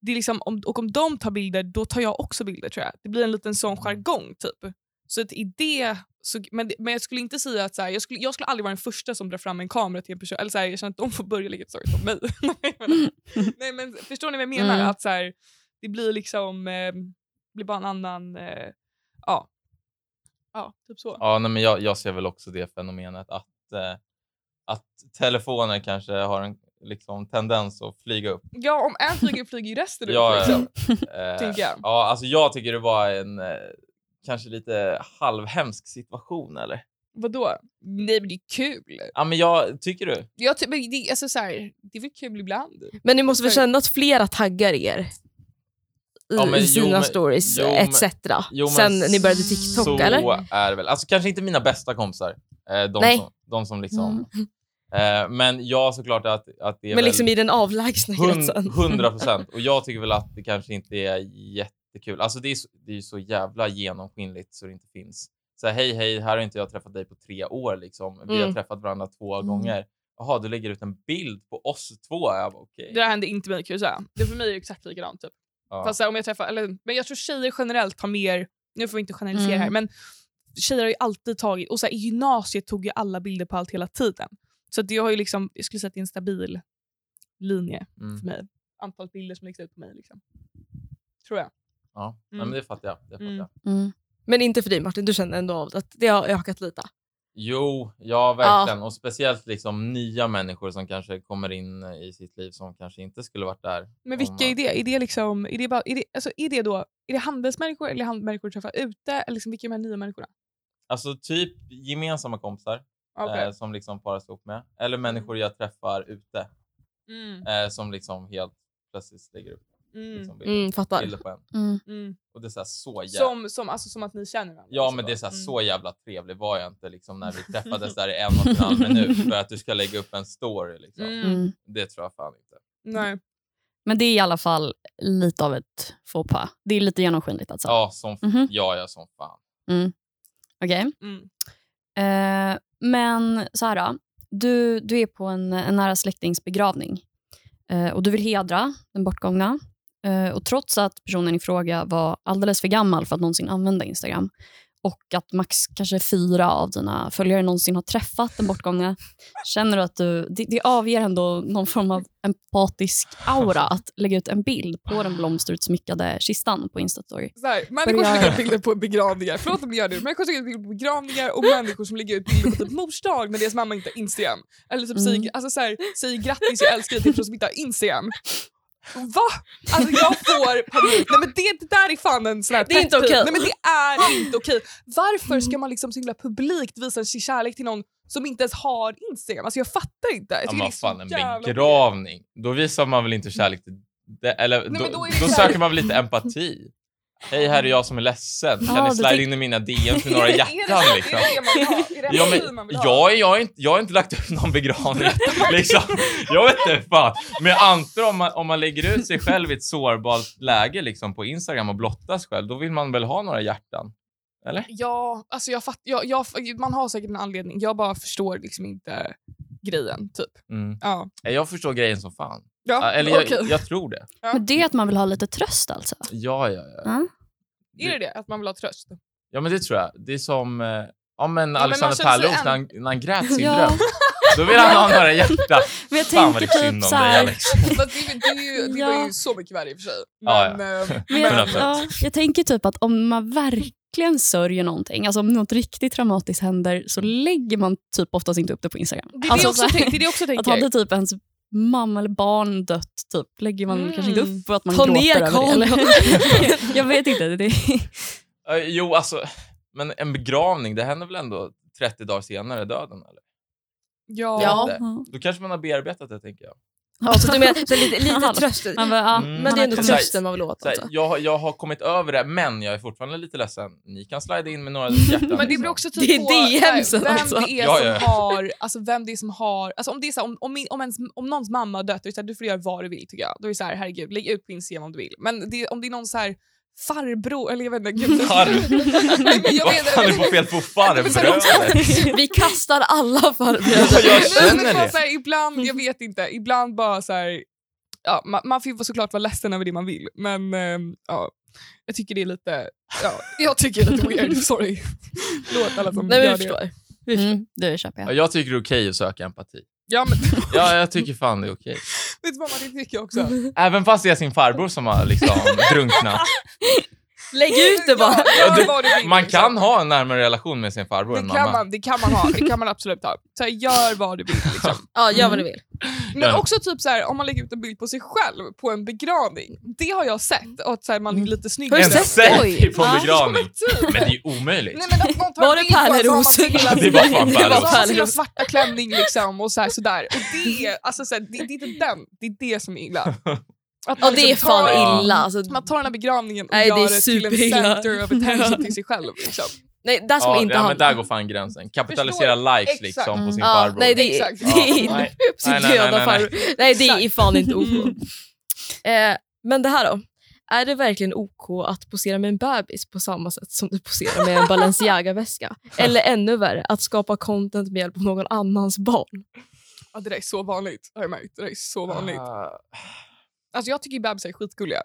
S3: det är liksom, om, och om de tar bilder, då tar jag också bilder tror jag. Det blir en liten sån jargong typ. Så att i det, så, men, det- men jag skulle inte säga att så här, jag, skulle, jag skulle aldrig vara den första som drar fram en kamera till en person, eller så här, jag känner att de får börja lägga ett stories om mig. Nej, men- alltså, Nej men förstår ni vad jag menar?
S1: Mm.
S3: Att så här, det blir liksom, eh, blir bara en annan, eh, ja. Ja, typ så.
S4: ja nej, men jag, jag ser väl också det fenomenet att, eh, att telefoner kanske har en liksom, tendens att flyga upp.
S3: Ja, om en flyger flyger ju resten ut.
S4: Ja, ja,
S3: liksom.
S4: Eh,
S3: Tänker jag.
S4: Ja, alltså, jag tycker det var en eh, kanske lite halvhemsk situation. Eller?
S3: Vadå? Nej men det är kul.
S4: Ja, men jag, tycker du?
S3: Jag ty- men det, alltså, så här, det är väl kul ibland?
S1: Men ni måste väl
S3: För-
S1: känna att flera taggar er i,
S4: Ja, men
S1: i
S4: jo,
S1: sina
S4: men-
S1: stories
S4: jo, men-
S1: etc.
S4: jo, men
S1: Sen ni började TikTok,
S4: så
S1: eller?
S4: är det väl. Alltså, kanske inte mina bästa kompisar. Eh, de,
S1: Nej. Mm.
S4: Som, de som liksom... Eh, men jag såklart att, att det är
S1: Men
S4: väl
S1: liksom i den avlägsna gränsen.
S4: 100 procent. Och jag tycker väl att det kanske inte är jättekul. Alltså det är, så- det är ju så jävla genomskinligt så det inte finns. Så här, hej, hej, här har inte jag träffat dig på tre år. Liksom. Vi har
S1: Mm.
S4: träffat varandra två
S2: Mm.
S4: gånger. Jaha, du lägger ut en bild på oss två. Jag bara, okej.
S3: Det där hände inte mig kan jag säga. Det för mig är det exakt likadant. Typ.
S4: Ja.
S3: Fast, så här, om jag träffar, eller, men jag tror tjejer generellt har mer, nu får vi inte generalisera
S2: Mm.
S3: här, men tjejer har ju alltid tagit, och så här, i gymnasiet tog ju alla bilder på allt hela tiden. Så att jag har ju liksom, jag skulle säga att det är en stabil linje
S4: Mm.
S3: för mig. Antalet bilder som läggs ut på mig. Liksom. Tror jag.
S4: Ja. Nej,
S3: Mm.
S4: men det fattar jag. Det fattar
S3: Mm.
S4: jag.
S2: Mm.
S1: Men inte för dig Martin, du känner ändå av att det har ökat lite.
S4: Jo, ja verkligen. Och speciellt liksom nya människor som kanske kommer in eh, i sitt liv som kanske inte skulle varit där.
S3: Men
S4: om
S3: vilka
S4: man-
S3: är det? Är det, liksom, är det, bara, är det, alltså, är det, då, är det handelsmänniskor eller hand, människor du träffar ute? Eller liksom, vilka är de här nya människorna?
S4: Alltså typ gemensamma kompisar
S3: Okay.
S4: eh, som liksom paras ihop med. Eller människor jag träffar ute
S3: Mm.
S4: eh, som liksom helt plötsligt lägger upp
S3: Mm.
S4: liksom, bild,
S1: Mm, fattar.
S4: bilder på en.
S2: Mm.
S3: Mm.
S4: Och det är så, här, så jävla...
S3: Som, som, alltså, som att ni känner varandra?
S4: Ja,
S3: liksom
S4: men
S3: då.
S4: det är så, här,
S3: Mm.
S4: så jävla trevlig var jag inte liksom, när vi träffades där i en och en halv minut för att du ska lägga upp en story. Liksom.
S3: Mm.
S2: Mm.
S4: Det tror jag fan inte.
S3: Nej.
S2: Men det är i alla fall lite av ett faux pas. Det är lite genomskinligt alltså.
S4: Ja, som,
S3: Mm-hmm.
S2: Mhm.
S4: ja, ja, som fan.
S2: Okej.
S3: Mm.
S2: Eh, men så här då. Du, du är på en, en nära släktings begravning eh, och du vill hedra den bortgångna. Eh, och trots att personen i fråga var alldeles för gammal för att någonsin använda Instagram och att max kanske fyra av dina följare någonsin har träffat den bortgångna känner du att du, det, det avger ändå någon form av empatisk aura att lägga ut en bild på den blomsterutsmyckade kistan på Instastory.
S3: Så här, människor som
S2: Börjar-
S3: lägger ut bilder på begravningar, förlåt om jag gör det, människor som lägger ut bilder på begravningar och människor som lägger ut bilder på typ morsdag när deras mamma inte har Instagram. Eller typ säger,
S2: Mm.
S3: alltså så här, säger grattis jag älskar dig till personer som inte har Instagram. Va? Alltså jag får panik. Nej men det, det där är fan en sån här
S1: Det är inte
S3: pet peeve.
S1: okej.
S3: Nej men det är inte okej. Varför ska man liksom så himla publikt visa sin kärlek till någon som inte ens har Instagram? Alltså jag fattar inte. Jag
S4: Ja,
S3: tycker
S4: men
S3: det är
S4: vad
S3: så
S4: fan, en
S3: jävla- Mm.
S4: begravning. Då visar man väl inte kärlek till... Det, eller,
S3: men
S4: då,
S3: då
S4: då,
S3: är det så här-
S4: söker man väl lite empati. Hej, här är jag som är ledsen. Kan
S2: Ja,
S4: ni
S2: du
S4: slida
S2: tänk-
S4: in i mina DM för några
S3: Är det-
S4: hjärtan?
S3: är det
S4: Liksom?
S3: det man vill ha? Är det
S4: Ja,
S3: empati
S4: men,
S3: man vill ha?
S4: jag, är- jag, är inte, jag har inte lagt upp någon begravning. liksom. Jag vet inte fan. Men jag antar om man, om man lägger ut sig själv i ett sårbart läge liksom, på Instagram och blottas själv, då vill man väl ha några hjärtan? Eller?
S3: Ja, alltså jag fatt, jag, jag, man har säkert en anledning. Jag bara förstår liksom inte grejen. Typ.
S4: Mm.
S3: Ja.
S4: Jag förstår grejen som fan.
S3: Ja,
S4: Eller jag,
S3: okej.
S4: jag tror det.
S2: Men det är att man vill ha lite tröst alltså.
S4: Ja, ja, ja.
S3: Är det det? Att man vill ha tröst?
S4: Ja, men det tror jag. Det är som eh, ja, men
S3: man
S4: Alexander
S3: känner sig
S4: Pärleros
S3: en-
S4: när, han- när han grät sin
S2: Ja.
S4: dröm. Då vill han ha några hjärtan.
S2: Men jag
S4: Fan vad det
S2: tänker typ
S4: är synd om
S2: så
S4: dig,
S2: här-
S4: Alex.
S3: Fast det, det, är ju, det var
S2: Ja.
S3: ju så mycket värre i och för sig.
S4: Ja, alltså-
S3: Men, eh,
S2: Men
S4: På
S2: jag,
S4: något sätt.
S2: ja, jag tänker typ att om man verkligen sörjer någonting, alltså om något riktigt traumatiskt händer, så lägger man typ oftast inte upp det på Instagram.
S3: det, är det,
S2: alltså,
S3: jag
S2: så
S3: också
S2: här,
S3: tänk, det är det jag också
S2: att
S3: tänker.
S2: hade typ ens mamma eller barn dött, typ, lägger man
S3: Mm.
S2: kanske inte upp för att man
S1: Ta
S2: gråter
S1: ner
S2: över det. Eller? jag vet inte. Det är...
S4: Eh, jo, alltså, men en begravning, det händer väl ändå 30 dagar senare döden? Eller?
S3: Ja.
S1: Ja.
S4: Då kanske man har bearbetat det, tänker jag.
S1: Ja, så du menar, så lite, lite
S2: Han-
S1: tröst.
S2: Han bara, ja,
S4: Mm.
S1: Men det är ändå
S4: kommit-
S1: trösten man vill åt.
S4: Så här,
S1: Alltså.
S4: jag, har- jag har kommit över det, men jag är fortfarande lite ledsen. Ni kan slida in med några hjärtan.
S3: Men det
S4: liksom.
S3: beror också typ
S1: Det är
S3: på
S1: DMs
S3: så här, vem
S1: alltså.
S3: det är
S4: Ja,
S3: som
S4: ja.
S3: har... Alltså vem det är som har... Alltså om, det är så här, om, om, min- om, ens, om någons mamma har dött, då är det så här, du får göra vad du vill tycker jag. Då är det så här, herregud, lägg ut på Instagram om du vill. Men det, om det är någon så här farbror, eller jag vet inte. Gud,
S4: Farbror?
S3: Nej, men jag
S4: Vad
S3: vet-
S4: fan är det på fel på farbröder?
S1: Vi kastar alla
S4: Ja,
S1: farbröder.
S4: jag
S3: Nej, men
S4: känner
S3: bara
S4: det.
S3: Så här, ibland, jag vet inte, ibland bara så här, ja, man, man får ju såklart vara ledsen över det man vill, men ehm, ja, jag tycker det är lite, ja, jag tycker det är lite weird, sorry. Låt alla som
S1: Nej, men
S3: gör
S1: vi
S3: det.
S1: förstår.
S2: mm, det köper
S4: Ja,
S2: jag.
S4: Jag tycker det är okej att söka empati.
S3: Ja, men,
S4: Ja, jag tycker fan det är okej.
S3: vet du vad, det tycker jag också.
S4: Även fast det är sin farbror som har liksom drunknat.
S1: Lägg ut det bara.
S3: Ja,
S4: Du-
S3: gör vad du vill,
S4: Man kan
S3: liksom.
S4: ha en närmare relation med sin farbror än
S3: det kan,
S4: mamma.
S3: man, det kan man ha, det kan man absolut ha. Så här, gör vad du vill. Liksom.
S1: Ja, gör vad du
S4: Mm.
S1: vill.
S3: Men
S4: Ja.
S3: också typ så här, om man lägger ut en bild på sig själv på en begravning. Det har jag sett, att så här, man är lite snyggare.
S1: Mm. Har
S4: En
S1: du sett
S4: selfie
S2: Oj.
S4: på en
S2: Ja.
S4: begravning.
S3: Typ.
S4: Men det är ju omöjligt.
S3: Nej, men att någon tar
S1: Var det
S3: en bild på en
S1: pärleros?
S3: som har sin lilla-
S4: Det var fan
S3: Det
S4: pärleros.
S3: var sin lilla
S1: Pärleros.
S3: svarta klänning liksom och så här, sådär. Och det, är- alltså, så här, det, det är inte den, det är det som är illa. Att
S1: Ja,
S3: man
S1: det är
S3: liksom
S1: fan
S3: tar-
S1: illa. Alltså,
S3: Man tar den här begravningen och
S1: Nej, det
S3: gör
S1: är
S3: det, till en
S1: superilla.
S3: center of attention till sig själv. Liksom.
S1: nej, där ska
S4: ja,
S1: man inte
S4: ja,
S1: hamna.
S4: men där går fan gränsen. Kapitalisera likes
S3: Exakt.
S4: liksom på
S2: Mm.
S4: sin
S1: Ja,
S4: farbror.
S1: nej, det är,
S3: Exakt.
S1: det är
S4: Ja, nej.
S1: sin
S4: Nej, nej, nej,
S1: döda
S4: nej, nej.
S1: farbror. Nej, det är
S3: Exakt.
S1: fan inte OK.
S3: Mm.
S1: Eh, men det här då. Är det verkligen OK att posera med en bebis på samma sätt som du poserar med en Balenciaga-väska? Eller ännu värre, att skapa content med hjälp av någon annans barn?
S3: Ja, det där är så vanligt, har jag märkt. Det där är så vanligt.
S4: Ah.
S3: Alltså, jag tycker ju bebisar är skitgulliga.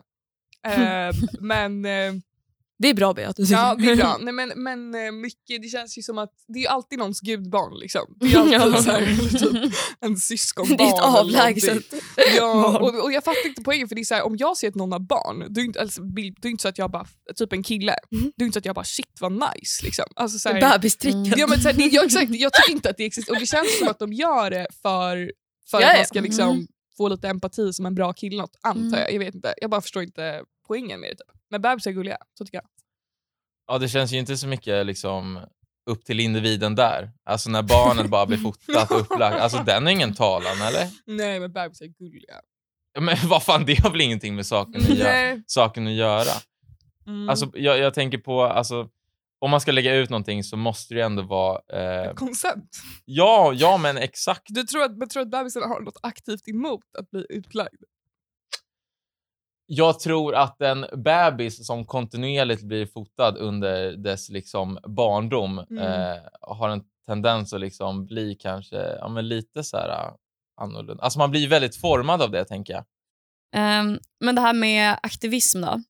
S3: Eh, men, eh,
S1: Det är bra, Bea, att du tycker
S3: ja, det är bra. Nej, men, men eh, mycket, det känns ju som att det är ju alltid någons gudbarn. Liksom. Det är ju alltid
S1: Ja.
S3: så här, typ, en
S1: Det
S3: syskonbarn.
S1: är ett
S3: eller någonting.
S1: avlägset.
S3: Ja,
S1: barn.
S3: och, och jag fattar inte poängen för det är så här, om jag ser att någon har barn, då är inte, alltså, bild- då är inte så att jag bara, typ en kille,
S1: Mhm.
S3: då är inte så att jag bara shit vad nice liksom. Alltså, så här,
S1: Bebistricket.
S3: ja, men, så här, det, ja, exakt, jag tycker inte att det existerar och det känns som att de gör det för, för
S1: Ja,
S3: att
S1: ja.
S3: man ska liksom
S2: Mm.
S3: få lite empati som en bra kille något, antar
S2: Mm.
S3: jag. Jag vet inte, jag bara förstår inte poängen med det. Typ. Men bebisar är gulliga, så tycker jag.
S4: Ja, det känns ju inte så mycket liksom upp till individen där. Alltså när barnet bara blir fotat och upplagt. Alltså den är ingen talan, eller?
S3: Nej men bebisar är gulliga.
S4: Ja, Men vad fan, det har väl ingenting med saken att, göra-
S3: Nej.
S4: saken att göra?
S3: Mm.
S4: Alltså jag, jag tänker på, alltså om man ska lägga ut någonting så måste det ju ändå vara... Eh,
S3: Koncept.
S4: ja, ja men exakt.
S3: Du tror att, men tror att bebisar har något aktivt emot att bli utlagd?
S4: Jag tror att en bebis som kontinuerligt blir fotad under dess liksom barndom
S3: Mm.
S4: eh, har en tendens att liksom bli kanske ja, men lite så här eh, annorlunda. Alltså man blir väldigt formad av det, tänker jag.
S2: Ehm, men det här med aktivism då.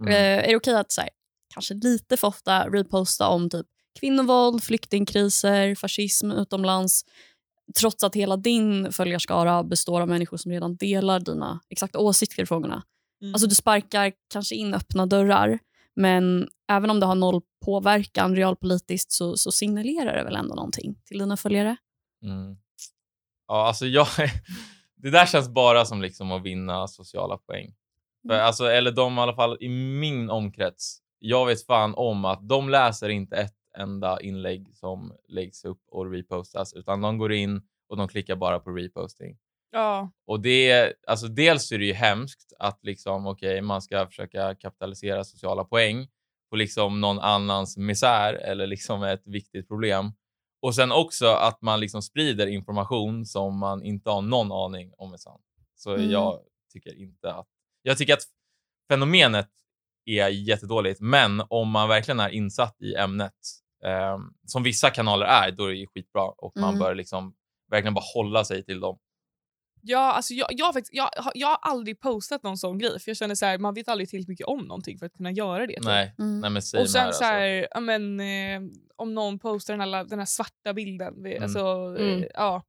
S4: Mm.
S2: Eh, är det okej att så här, kanske lite för ofta reposta om typ kvinnovåld, flyktingkriser, fascism utomlands trots att hela din följarskara består av människor som redan delar dina exakta åsikter i frågorna?
S3: Mm.
S2: Alltså Du sparkar kanske in öppna dörrar men även om det har noll påverkan realpolitiskt så, så signalerar det väl ändå någonting till dina följare?
S4: Mm. Ja, alltså jag, det där känns bara som liksom att vinna sociala poäng. För,
S2: Mm.
S4: alltså, eller de i alla fall i min omkrets. Jag vet fan om att de läser inte ett enda inlägg som läggs upp och repostas, utan de går in och de klickar bara på reposting.
S3: Ja.
S4: Och det, alltså dels är det ju hemskt att liksom, okej, man ska försöka kapitalisera sociala poäng på liksom någon annans misär eller liksom ett viktigt problem. Och sen också att man liksom sprider information som man inte har någon aning om är sann. Så
S2: Mm.
S4: jag tycker inte att... Jag tycker att fenomenet är jättedåligt, men om man verkligen är insatt i ämnet, eh, som vissa kanaler är, då är det ju skitbra och man
S2: Mm.
S4: bör liksom verkligen bara hålla sig till dem.
S3: Ja, alltså jag, jag, har faktiskt, jag, har- jag har aldrig postat någon sån grej för jag känner så här, man vet aldrig tillräckligt mycket om någonting för att kunna göra det. typ.
S4: Nej,
S2: Mm.
S4: Nej, men säg
S3: Och sen
S4: när,
S3: så här, ja, men, eh, om någon postar den här, den här svarta bilden, det-
S4: Mm.
S3: alltså,
S1: Mm.
S3: Eh, ja.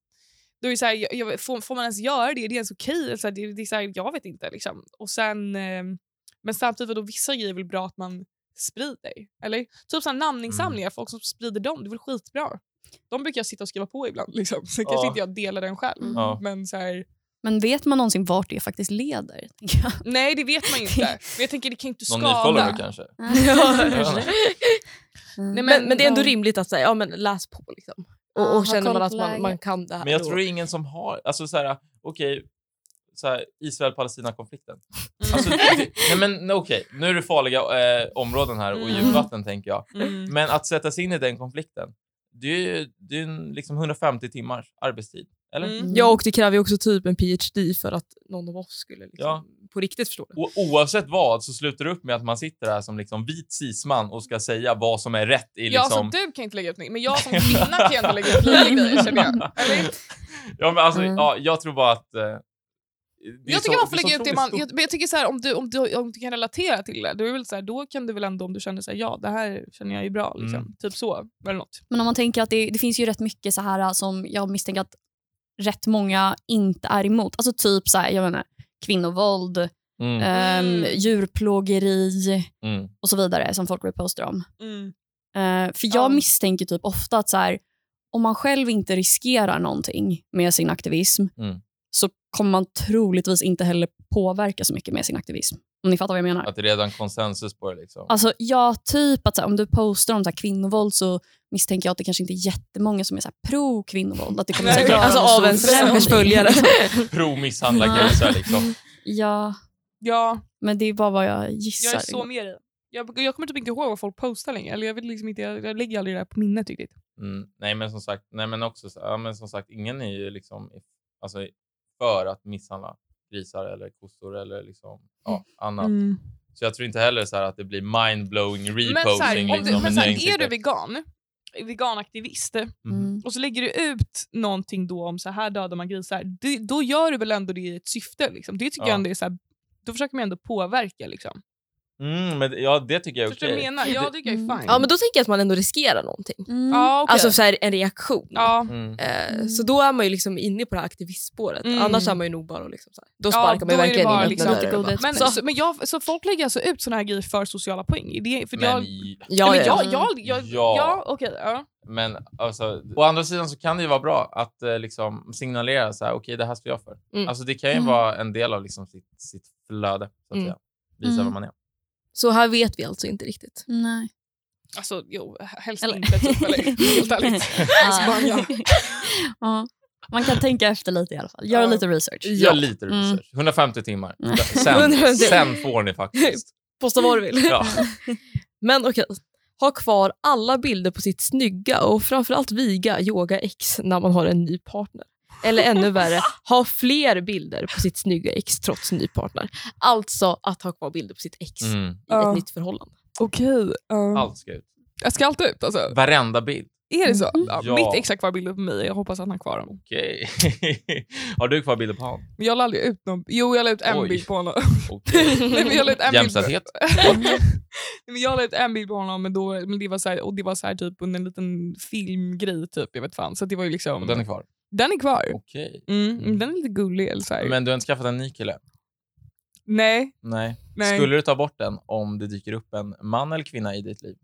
S3: Då är det så här, jag, jag, får, får man ens göra det? Är det ens okej? Alltså, det, det är så här, jag vet inte. Liksom. Och sen, eh, men samtidigt är då vissa grejer är väl bra att man sprider? Eller? Typ
S4: Mm.
S3: så här namninsamlingar, folk som sprider dem, det är väl skitbra? De brukar jag sitta och skriva på ibland. Liksom. Sen kanske
S4: Ja.
S3: inte jag delar den själv.
S2: Mm.
S4: Ja.
S3: Men så här,
S2: Men vet man någonsin vart det faktiskt leder? tänker jag?
S3: Nej, det vet man ju inte. Men jag tänker det kan ju inte
S4: Någon
S3: skada.
S4: ny followare kanske?
S1: Ja.
S2: Mm.
S3: Nej, Ah,
S1: Men, men, det är ändå
S3: de-
S1: rimligt att säga, ja, men läs på. Liksom.
S2: Ja,
S1: Och,
S2: ha
S1: och känner
S2: koll
S1: man att
S2: på
S1: man,
S2: läget.
S1: man kan det här.
S4: Men jag
S1: då-
S4: tror det är ingen som har... Alltså så här, okej, så här, Israel-Palestina-konflikten.
S3: Mm.
S4: Alltså, det, nej, men nej, okej, nu är det farliga eh, områden här och
S3: Mm.
S4: djupvatten tänker jag.
S3: Mm.
S4: Men att sätta sig in i den konflikten, det är ju det är en, liksom 150 timmars arbetstid. Eller?
S3: Mm.
S1: Ja, och det kräver ju också typ en PhD för att någon av oss skulle liksom
S4: Ja.
S1: på riktigt förstå det.
S4: Och oavsett vad så slutar det upp med att man sitter här som liksom vit cisman och ska säga vad som är rätt i
S3: Ja,
S4: liksom...
S3: så typ, du kan inte lägga ut nytt, men jag som kvinna kan ju ändå lägga ut lite grejer känner
S4: Mm.
S3: jag. Eller?
S4: Ja, men alltså,
S1: Mm.
S4: ja, jag tror bara att... Eh, det är
S3: Jag
S4: så-
S3: tycker man får
S4: är så
S3: lägga ut det
S4: otroligt
S3: man...
S4: stort.
S3: Jag, men jag tycker så här, om, du, om, du, om du kan relatera till det, då, är det väl så här, då kan du väl ändå om du känner så här, ja det här känner jag ju bra, liksom.
S4: Mm.
S3: typ så. Eller något.
S2: Men om man tänker att det, det finns ju rätt mycket så här äh, som jag misstänker att rätt många inte är emot. Alltså typ så här, jag menar, kvinnovåld,
S4: Mm,
S2: ehm,
S3: Mm.
S2: djurplågeri
S3: Eh.
S4: mm,
S2: och så vidare som folk repostar om.
S3: Mm.
S2: Eh, för jag
S3: Ja.
S2: misstänker typ ofta att så här, om man själv inte riskerar någonting med sin aktivism
S4: Mm.
S2: så kommer man troligtvis inte heller påverka så mycket med sin aktivism. Om ni fattar vad jag menar.
S4: att det är redan konsensus på det. Liksom.
S2: Alltså, ja, typ att så här, om du postar om så här, kvinnovåld så misstänker jag att det kanske inte är jättemånga som är så här, pro kvinnovåld. Att det kommer
S3: Nej,
S2: så här,
S1: Alltså
S2: göra
S1: av
S2: stor
S1: en stackars
S2: förändring.
S1: följare.
S4: Pro-misshandla
S2: Ja.
S4: grisar liksom.
S2: Ja,
S3: Ja,
S2: men det är bara vad jag
S3: jag
S2: gissar.
S3: är så med dig. Jag, jag kommer typ inte ihåg vad folk postar längre. Eller jag, vill liksom inte, jag, jag lägger aldrig det här på minnet riktigt.
S4: Mm, nej, men som sagt, nej, men också, så- ja, men som sagt ingen är ju liksom, alltså, för att misshandla grisar eller kossor eller liksom, ja, annat.
S3: Mm.
S4: Så jag tror inte heller så här att det blir mindblowing reposting.
S3: Men, så här, om
S4: liksom,
S3: du, men så här, är
S4: med
S3: du
S4: insikter.
S3: vegan, veganaktivist,
S2: Mm.
S3: och så lägger du ut någonting då om så här dödar man grisar, det, då gör du väl ändå det i ett syfte? Liksom. Det tycker
S4: Ja.
S3: jag ändå är så här, då försöker man ändå påverka. Liksom.
S4: Mm, men, det- ja, det tycker jag är
S3: Förstår du vad
S4: okej.
S3: jag menar? Ja, det tycker jag är
S2: Mm.
S3: fine.
S1: Ja, men då tänker jag att man ändå riskerar någonting.
S2: Mm.
S3: ja, okej.
S1: Alltså så här, en reaktion.
S3: ja.
S4: Mm.
S1: Eh,
S2: Mm.
S1: Så då är man ju liksom inne på det här aktivistspåret.
S3: Mm.
S1: Annars är man ju nog bara liksom så här. Då
S3: Ja,
S1: sparkar man ju
S3: då är det
S1: verkligen
S3: bara
S1: in
S3: liksom
S1: öppna
S2: lite
S1: dörrar och bara-
S2: godhet.
S3: Men,
S1: Så-
S3: så, men jag, så folk lägger alltså ut såna här grejer för sociala poäng? Det, för
S4: Men,
S3: jag,
S1: Ja,
S3: men
S1: ja, ja.
S3: jag, jag, jag,
S4: Ja.
S3: ja. okej. ja.
S4: men alltså, å andra sidan så kan det ju vara bra att eh, liksom, signalera så här, okej, det här står jag för.
S1: Mm.
S4: Alltså, det kan ju
S2: Mm.
S4: vara en del av liksom, sitt, sitt flöde, så att
S1: Mm.
S4: säga. Visa
S2: Mm.
S4: vad man är.
S1: Så här vet vi alltså inte riktigt.
S2: Nej.
S3: Alltså, jo, helst
S2: Eller-
S3: inte. Typ, eller, helt ärligt. Alltså, bara, ja.
S2: Ja. Man kan tänka efter lite i alla fall. Göra
S3: Ja.
S2: lite research.
S4: Gör lite
S2: Mm.
S4: research. 150 timmar.
S2: Mm.
S4: Sen,
S1: 150.
S4: sen får ni faktiskt.
S1: Posta vad du vill.
S4: Ja.
S1: Men okej. Ha kvar alla bilder på sitt snygga och framförallt viga yoga ex när man har en ny partner. Eller ännu värre, ha fler bilder på sitt snygga ex trots ny partner. Alltså att ha kvar bilder på sitt ex i
S4: Mm.
S3: Ja.
S1: ett nytt förhållande.
S3: Okej. ja.
S4: Allt ska ut.
S3: Jag ska allt ut alltså?
S4: Varenda bild.
S3: Är det så?
S2: Mm.
S3: Ja,
S4: Ja.
S3: Mitt ex har kvar bilder på mig. Jag hoppas att han har kvar dem.
S4: Okej. Har du kvar bilder på honom?
S3: Men jag la aldrig ut någon. Jo, jag la ut en
S4: Oj.
S3: bild på honom.
S4: Okej.
S3: Nej, men jag la ut en bild på-
S4: Jämställdhet?
S3: Nej, men jag la ut en bild på honom men då, men det var så här, och det var så här typ under en liten filmgrej. Typ, jag vet fan. Så det var ju liksom,
S4: Och Den är kvar.
S3: den är kvar.
S4: Okej.
S3: Mm, men Den är lite gullig. Eller så här.
S4: Men du har inte skaffat en ny kille?
S3: nej,
S4: Nej.
S3: nej.
S4: Skulle du ta bort den om det dyker upp en man eller kvinna i ditt liv?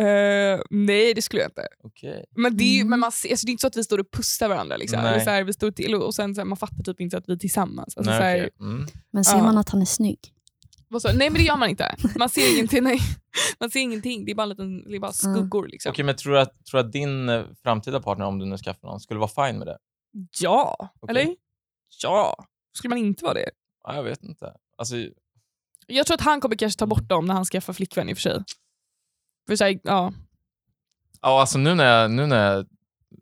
S3: Eh, nej, det skulle jag inte.
S4: Okej.
S3: Men det är, ju,
S2: Mm.
S3: men man ser, alltså det är inte så att vi står och pussar varandra. Liksom.
S4: Nej.
S3: Eller Så här, vi står till och, och sen så här, man fattar typ inte att vi är tillsammans. Alltså,
S4: Nej,
S3: så här,
S4: okej. Mm.
S2: Men ser
S3: Ja.
S2: man att han är snygg?
S3: vad så, nej, men det gör man inte. Man ser ingenting. Nej. Man ser ingenting. Det är bara, en liten, det är bara skuggor. Liksom.
S4: Mm. Okej, men tror du att, tror du att din eh, framtida partner, om du nu skaffar någon, skulle vara fine med det?
S3: Ja,
S4: Okej.
S3: eller? Ja. Skulle man inte vara det?
S4: Ja, jag vet inte. Alltså,
S3: Jag tror att han kommer kanske ta bort dem när han skaffar flickvän i och för sig. För sig ja.
S4: ja, alltså nu, när jag, nu när jag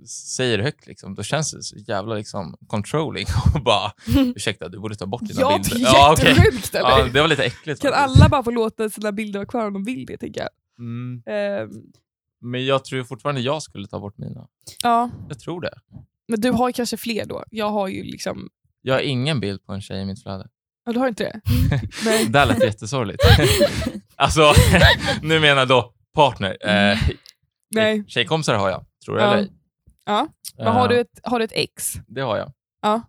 S4: säger det högt, liksom, då känns det så jävla liksom, controlling. Och bara, ursäkta, du borde ta bort dina
S3: ja, det
S4: bilder.
S3: är
S4: okej.
S3: jättesjukt eller?
S4: Ja, det var lite äckligt.
S3: Kan
S4: faktiskt.
S3: alla bara få låta sina bilder vara kvar om de vill det, tänker jag.
S4: Mm.
S3: Ehm,
S4: Men jag tror fortfarande jag skulle ta bort mina.
S3: ja.
S4: Jag tror det.
S3: Men du har ju kanske fler då. Jag har ju liksom...
S4: Jag har ingen bild på en tjej i mitt flöde.
S3: Ja, du har inte det? Nej.
S4: Det där lät jättesorgligt. alltså, nu menar jag då partner. Eh,
S3: Nej.
S4: Tjejkompisar har jag, tror
S3: Ja.
S4: jag eller
S3: Ja. Men
S4: Eh,
S3: har du ett, har du ett ex?
S4: Det har jag.
S3: Ja.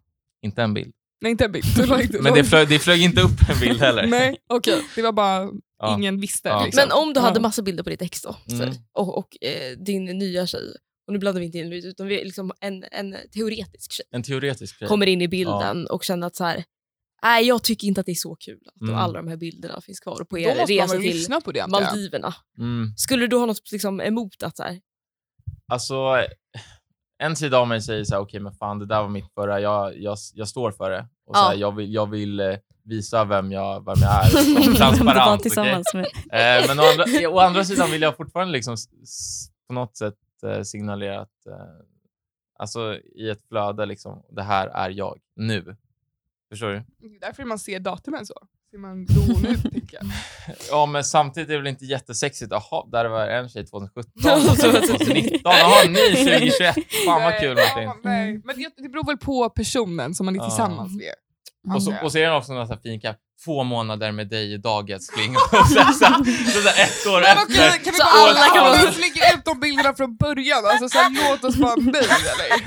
S4: Inte en bild.
S3: Nej, inte en bild. Du har inte-
S4: Men det flög, det flög inte upp en bild heller.
S3: Nej, okej. Det var bara
S4: Ja.
S3: ingen visste.
S4: Ja.
S3: Liksom.
S1: Men om du hade
S3: Ja.
S1: massa bilder på ditt ex då, säg,
S4: Mm.
S1: och, och eh, din nya tjej, och nu blandar vi inte in Louise, utan vi är liksom en, en teoretisk tjej,
S4: En teoretisk grej.
S1: kommer in i bilden och känner att så här, nej jag tycker inte att det är så kul att de-
S4: Mm.
S1: alla de här bilderna finns kvar på
S3: Då
S1: er
S3: måste man
S1: resa
S3: väl
S1: till
S3: lyssna på det, antar jag.
S1: Maldiverna.
S4: Mm.
S1: Skulle du ha något liksom, emot att så här,
S4: Alltså, en sida av mig säger så här, okej men fan det där var mitt förra, jag, jag, jag står för det. Och så här,
S1: Ja.
S4: jag vill, jag vill eh, visa vem jag, vem jag är. som
S2: Vara
S4: Transparent. okej?
S2: tillsammans med.
S4: Eh, men å andra, eh, å andra sidan vill jag fortfarande liksom s- s- på något sätt eh, signalera att eh, alltså, i ett flöde, liksom, det här är jag nu. Förstår du?
S3: Därför man ser datumen så. Ser man då och nu, tänker jag.
S4: Ja, men samtidigt är det väl inte jättesexigt. Jaha, där var en tjej 2017 och så 2019. Jaha, ni 2021. Fan vad kul
S3: Nej,
S4: Martin.
S3: ja,
S1: Mm.
S3: nej. Men det, det beror väl på personen som man är
S4: Ja.
S3: tillsammans med.
S4: Och så,
S3: antar jag.
S4: och så är den också någon sån här fin kapp. Två månader med dig i dag älskling. Och så, här- så, här- så, här ett år
S3: Men okej,
S4: efter.
S3: kan vi
S1: Så
S3: bara
S1: alla kan
S3: alla
S1: vara-
S3: kan lägga ut de bilderna från början? Alltså, så här, låt oss vara nöjda. Eller?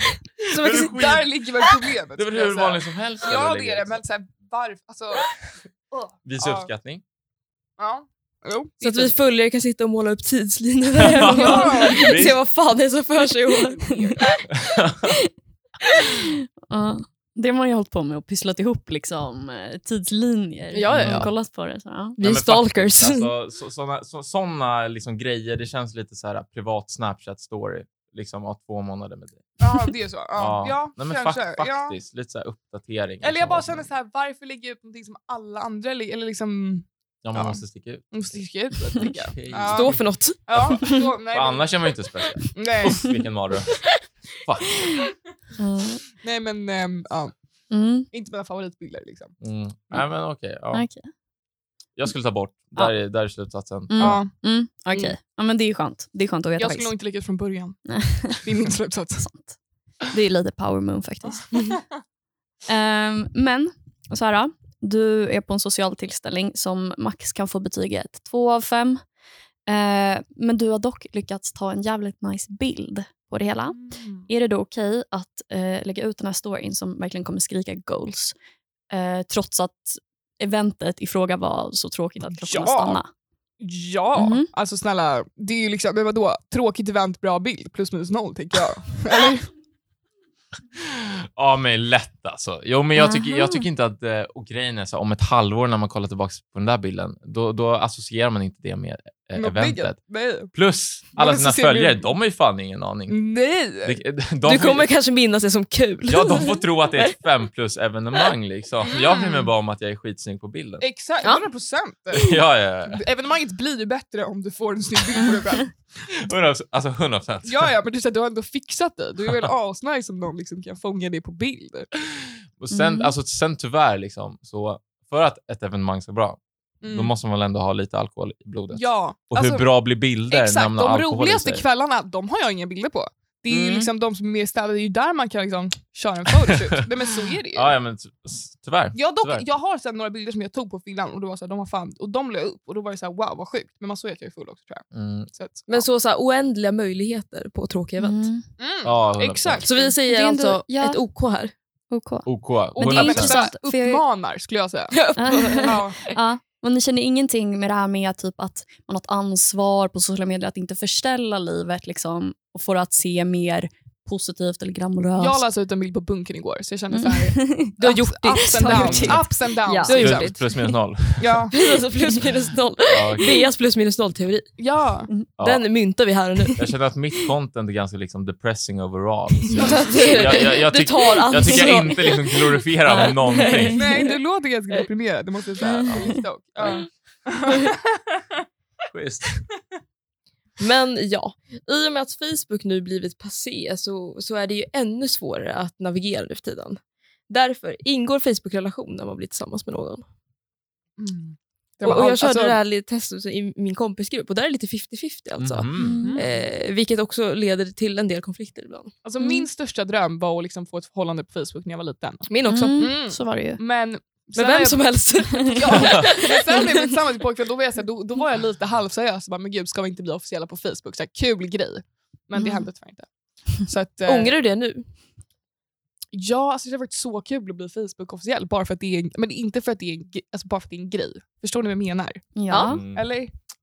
S1: Så man kan
S4: Men du
S1: sitta-
S4: skit-
S3: Där ligger väl problemet.
S4: Det är väl
S3: skulle jag
S4: hur
S3: säga.
S4: vanligt som helst?
S3: Ja,
S4: eller?
S3: det är det. Men så här, varför? Alltså,
S4: Visa
S3: Ja.
S4: uppskattning.
S3: ja. Jo. typ-
S1: Så att vi följare kan sitta och måla upp tidslinjer där hemma. Se vad fan det är som för sig.
S2: Ja, det har man ju hållit på med och pysslat ihop liksom, eh, tidslinjer.
S1: Ja, ja,
S2: Och
S1: ja.
S2: kollat på det. Så, ja.
S1: Vi är stalkers.
S4: Sådana Alltså, så, såna- så, såna liksom grejer, det känns lite så här privat Snapchat-story. Liksom av två månader med dig.
S3: Ja, det är så. Ja, ja.
S4: Nej, men
S3: kanske.
S4: fakt-
S3: ja.
S4: faktiskt. Lite så här uppdatering.
S3: Eller
S4: liksom,
S3: jag bara
S4: vad som-
S3: känner så här, varför lägga ut någonting som alla andra lägger? Eller liksom,
S4: Ja, man
S3: Ja.
S4: måste sticka ut.
S3: måste sticka ut det, tycker jag.
S4: Okej.
S3: Ja.
S1: Stå för något.
S3: Ja, så, nej,
S4: För annars är man ju inte speciell.
S3: nej,
S4: Uff, vilken mardröm. Fuck.
S2: Ja.
S3: nej, men ehm, ja,
S2: Mm,
S3: inte mina favoritbilder liksom.
S4: Mm. Nej, men okej. ja.
S2: okej.
S4: Jag skulle ta bort.
S2: Ja.
S4: Där, är, där är slutsatsen.
S2: Mm.
S3: Ja.
S2: Mm, okej. Ja, men det är ju skönt. Det är skönt att veta
S3: Jag skulle
S2: faktiskt.
S3: nog inte lägga ut från början.
S2: Nej.
S3: Det är min slutsats.
S2: Sant. Det är lite power move faktiskt.
S3: Mm.
S2: Ehm, men, Sara, du är på en social tillställning som max kan få betyget 2 av 5. men du har dock lyckats ta en jävligt nice bild på det hela. Är det då okej att eh, lägga ut den här storyn som verkligen kommer skrika goals eh, trots att eventet i fråga var så tråkigt att klockan
S3: Ja.
S2: stanna?
S3: Ja,
S2: Mhm.
S3: alltså snälla, det är ju liksom, men vadå, tråkigt event, bra bild, plus minus noll tänker jag. Eller?
S4: Ja, men lätt alltså. Jo, men jag tycker,
S2: Aha.
S4: jag tycker inte att... eh, Och grejen är så här, om ett halvår när man kollar tillbaka på den där bilden, då, då associerar man inte det med eh,
S3: Något
S4: eventet.
S3: bigger? Nej.
S4: Plus
S3: Men
S4: alla
S3: så
S4: sina
S3: ser Mm. vi-
S4: följare, de har ju fan ingen aning.
S3: Nej!
S4: De, de
S1: Du
S4: får-
S1: kommer kanske minnas det som kul.
S4: Ja, de får tro att det är ett fem plus-evenemang. Liksom. Jag bryr mig bara om att jag är skitsnygg på bilden.
S3: Exakt,
S1: Ja.
S3: 100 procent.
S4: Ja, ja, ja.
S3: Evenemanget blir ju bättre om du får en snygg bild på dig själv.
S4: 100 Alltså 100 procent.
S3: Ja, ja, men det är så att du har ändå fixat dig. Du är väl asnice om någon liksom kan fånga det på bild.
S4: Och sen,
S2: Mm.
S4: alltså, sen tyvärr, liksom, så för att ett evenemang ska vara bra,
S3: Mm.
S4: då måste man väl ändå ha lite alkohol i blodet.
S3: Ja,
S4: Och
S3: alltså,
S4: hur bra blir bilder när
S3: exakt.
S4: man har
S3: De
S4: alkohol i
S3: roligaste
S4: sig?
S3: kvällarna, de har jag inga bilder på. Det är ju
S4: Mm.
S3: liksom de som är mer städade, det är ju där man kan liksom köra en photoshoot. Nej men så är det ju.
S4: Typ. Ja, ja, men ty- s- tyvärr.
S3: Jag, dock,
S4: tyvärr.
S3: jag har sen några bilder som jag tog på fyllan och, det var så här, de, var fan, och de la jag upp och då var det så här, wow vad sjukt. Men man såg att jag är full också tror jag.
S4: Mm.
S3: Så att,
S1: Men så, så här, oändliga möjligheter på tråkiga event.
S2: Mm,
S3: ja. Mm.
S4: Ja, 100%.
S3: Exakt.
S1: Så vi
S2: Det
S1: säger
S2: är ändå-
S1: alltså
S2: ja.
S1: ett OK här.
S2: OK.
S4: OK.
S2: Men det är
S4: 100%.
S2: intressant, för jag-
S3: Uppmanar skulle jag säga. Ja.
S2: Ja, men ni känner ingenting med det här med typ att man har ett ansvar på sociala medier att inte förställa livet liksom, och få det att se mer positivt eller glamoröst?
S3: Jag la alltså ut en bild på bunkern igår så jag kände
S2: Mm.
S3: så här,
S1: Du har gjort ditt.
S3: ups and downs.
S4: Ja.
S3: Ups and downs. liksom.
S2: Ja.
S1: Du har gjort
S4: Plus-
S1: det.
S4: Plus minus noll.
S3: Ja.
S1: Alltså plus minus noll.
S4: Ja, okej.
S1: Beas plus minus noll-teori.
S3: ja.
S4: Ja.
S1: Den myntar vi här och nu.
S4: Jag känner att mitt content är ganska liksom depressing overall. Så jag, jag- jag
S1: du
S4: tyck-
S1: tar ansvar.
S4: jag tycker jag inte liksom glorifierar
S2: Nej.
S4: någonting.
S3: Nej, du låter ganska deprimerad. Det måste jag säga.
S4: Mm.
S3: På TikTok. Ja.
S4: Schysst.
S1: Men ja, i och med att Facebook nu blivit passé så, så är det ju ännu svårare att navigera nu för tiden. Därför ingår Facebook-relation när man blir tillsammans med någon.
S3: Det var
S1: Mm. Och, och jag
S3: allt-
S1: körde
S3: alltså,
S1: det här lite testet i min kompisgrupp och där är det lite 50-50 alltså.
S2: Mm.
S3: Mm.
S4: Mhm.
S1: Eh, vilket också leder till en del konflikter ibland.
S3: alltså,
S2: Mm.
S3: Min största dröm var att liksom få ett förhållande på Facebook när jag var liten.
S1: Min också.
S2: Mm,
S3: Mm.
S2: Så var det ju.
S3: Men
S1: Men
S3: sen har
S1: vem
S3: jag-
S1: som helst.
S3: Ja, men sen blev vi tillsammans med pojkvän, då var jag, så här, då, då var jag lite halvseriös. och Bara, men gud, ska vi inte bli officiella på Facebook? Så här, kul grej. Men det
S2: Mm.
S3: hände tyvärr inte. Så att, eh,
S1: Ångrar du det nu?
S3: Ja, alltså det har varit så kul att bli Facebook-officiell. Bara för att det är en, men det är inte för att det är en, ge- alltså bara för att det är en grej. Förstår ni vad jag menar?
S2: Ja.
S4: Mm.
S3: Eller?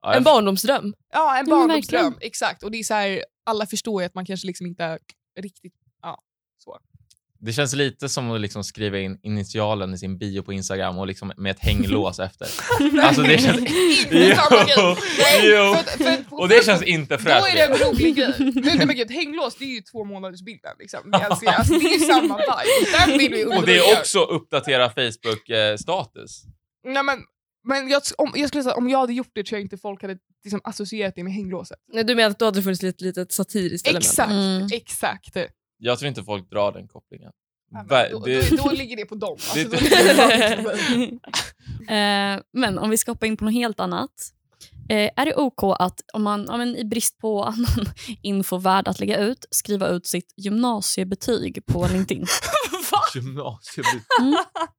S4: Ja,
S1: En
S4: jag-
S1: barndomsdröm.
S3: Ja, en
S2: Ja, men
S3: barndomsdröm. Exakt. Och det är så här, alla förstår ju att man kanske liksom inte riktigt...
S4: Det känns lite som att liksom skriva in initialen i sin bio på Instagram och liksom med ett hänglås efter. Alltså det känns...
S3: Det är samma grej. Nej,
S4: jo.
S3: För, att- för att på
S4: Oh. Och det känns inte
S3: Då är det
S4: fräscht.
S3: en rolig grej. Nu, nej men gud, hänglås det är ju två månaders bilden. Liksom. Alltså, alltså, det är ju samma vibe. Den vill vi
S4: Och det är
S3: underbygga.
S4: också uppdatera eh, Facebook-status.
S3: Nej, men, men jag, om, jag skulle säga om jag hade gjort det tror jag inte folk hade liksom, associerat det med hänglåset.
S1: Nej, du menar att då hade det funnits lite litet satiriskt
S3: Exakt,
S2: Mm.
S3: exakt. Ja,
S4: Jag tror inte folk drar den kopplingen.
S3: men
S4: Ver-
S3: då,
S4: det-
S3: då, då ligger det på dem. Alltså,
S4: det-
S3: då ligger det på dem.
S2: Eh, men om vi ska hoppa in på något helt annat. Eh, är det OK att, om man ja, men i brist på annan info värd att lägga ut, skriva ut sitt gymnasiebetyg på LinkedIn?
S4: Gymnasiebetyg.
S2: Mm.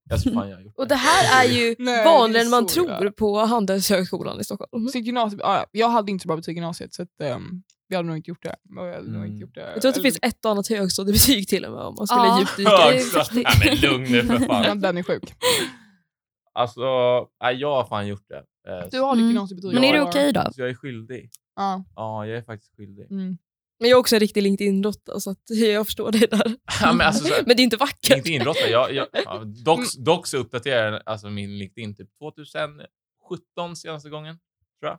S4: Jag tror fan jag har
S1: Mm.
S4: gjort
S1: Och det här är ju
S3: Nej, det
S1: vanligare
S3: är Mm.
S1: än man
S3: så
S1: tror
S3: jävla-
S1: på Handelshögskolan i Stockholm.
S3: Så gymnasiet, ja, ja. jag hade inte så bra betyg i gymnasiet så att, ehm, jag hade nog inte gjort det. Och Jag, hade nog
S4: Mm.
S3: inte gjort det.
S1: Jag tror att det
S3: Eller-
S1: finns ett och annat högstadiebetyg till och med om man skulle
S2: Ja.
S1: djupdyka.
S4: det.
S1: Det är
S4: Högstadiet.
S1: faktiskt-
S4: Nej men lugn nu för
S3: Ja,
S4: fan.
S3: Den är sjuk.
S4: Alltså, nej, jag har fan gjort det. Eh,
S3: Du har ditt
S2: Mm.
S3: gymnasiebetyg.
S2: Men är det
S3: Ja,
S2: okej då?
S4: Så jag är skyldig.
S3: Ja.
S4: Ja, jag är faktiskt skyldig.
S3: Mm.
S1: Men jag är också en riktig LinkedIn-råtta så att jag förstår det där.
S4: Ja, men alltså, så här,
S1: Men det är inte vackert.
S4: inte inrottad. Jag, Mm. jag, ja, dock, dock så uppdaterade jag alltså, min LinkedIn typ 2017 senaste gången, tror jag.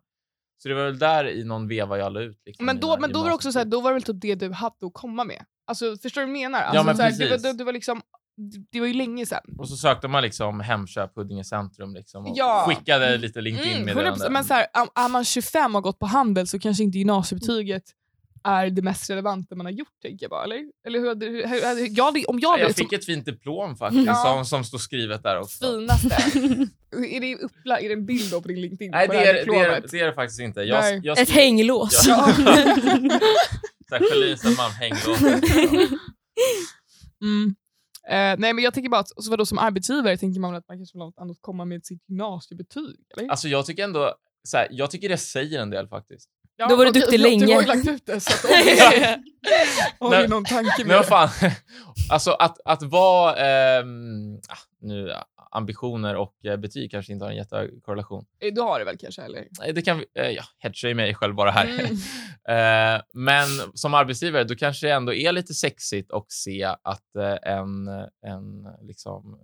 S4: Så det var väl där i någon veva jag la ut. Liksom,
S3: Men, då,
S4: mina
S3: men då var det också så här,
S4: gymnasiebetyg.
S3: då var det väl typ det du hade att komma med. Alltså, förstår du vad jag menar? Alltså,
S4: men
S3: så här, det, var,
S4: precis.
S3: det, det var liksom, det- det var ju länge sedan.
S4: Och så sökte man liksom Hemköp Huddinge centrum liksom, och
S3: Ja.
S4: skickade lite LinkedIn-meddelande.
S3: 100%, Mm, men så här, om- är man 25 och har gått på handel så kanske inte gymnasiebetyget är det mest relevanta man har gjort, tänker jag bara. Eller? Eller hur, hade- hur, hur, hade- jag hade, om jag
S4: Ja,
S3: hade...
S4: jag fick ett fint diplom faktiskt,
S3: Mm. Ja.
S4: som, som står skrivet där också.
S3: som finaste. är, det uppla, är det en bild då på din LinkedIn?
S4: Nej,
S3: på
S4: det
S3: här
S4: är det, är,
S3: diplomet?
S4: det är det faktiskt inte. Jag,
S3: Nej.
S4: jag
S1: Ett hänglås.
S4: Ja. Såhär, Felicia Malm hänglås.
S3: Mm. Eh, nej, men jag tänker bara att så vadå, som arbetsgivare tänker man väl att man kanske har något annat att komma med sitt gymnasiebetyg? Eller?
S4: Alltså, jag tycker ändå... Såhär, jag tycker det säger en del faktiskt.
S3: Ja,
S1: Då var du
S3: okej,
S1: duktig
S3: förlåt, Du har ju
S1: länge.
S3: lagt ut det, så att, okay. har
S4: Nej.
S3: du någon tanke med
S4: Men vad
S3: det?
S4: fan, alltså att, att vara... ehm, ah, nu, ambitioner och eh, betyg kanske inte har en jättehög korrelation.
S3: Eh, Du har det väl kanske? Eller?
S4: Eh, Det kan vi, eh, ja, headshame mig själv bara här.
S3: Mm.
S4: Eh, men som arbetsgivare, då kanske det ändå är lite sexigt att se att eh, en, en liksom,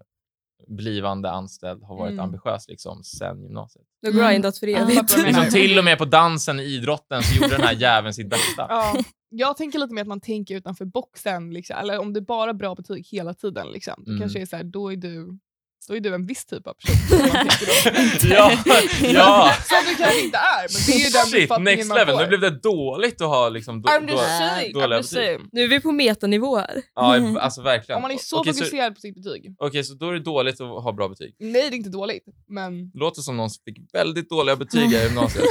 S4: blivande anställd har varit
S3: Mm.
S4: ambitiös liksom, sen gymnasiet.
S1: Du har grindat för
S2: Mm.
S1: evigt.
S3: Ja. Mm.
S4: Liksom, till och med på dansen i idrotten så gjorde den här jäveln sitt bästa.
S3: Ja. Jag tänker lite mer att man tänker utanför boxen. Liksom. Eller om det är bara bra betyg hela tiden, liksom. då
S4: Mm.
S3: kanske det är så här, då är du då är du en viss typ av person. om man tänker då.
S4: Ja, ja.
S3: Som du kanske inte är, men det är ju den
S4: Shit,
S3: uppfattningen
S4: next
S3: man
S4: level.
S3: får.
S4: Nu blev det dåligt att ha liksom, då,
S3: I'm
S4: då,
S3: just saying,
S4: då-
S3: I'm
S4: då-
S3: just saying.
S1: Nu är vi på metanivå här.
S4: ja, alltså verkligen.
S3: Om man är så
S4: Okej, så,
S3: fokuserad på sitt betyg.
S4: okej, så då är det dåligt att ha bra betyg.
S3: Nej, det är inte dåligt, men
S4: Låter som någon som fick väldigt dåliga betyg i gymnasiet.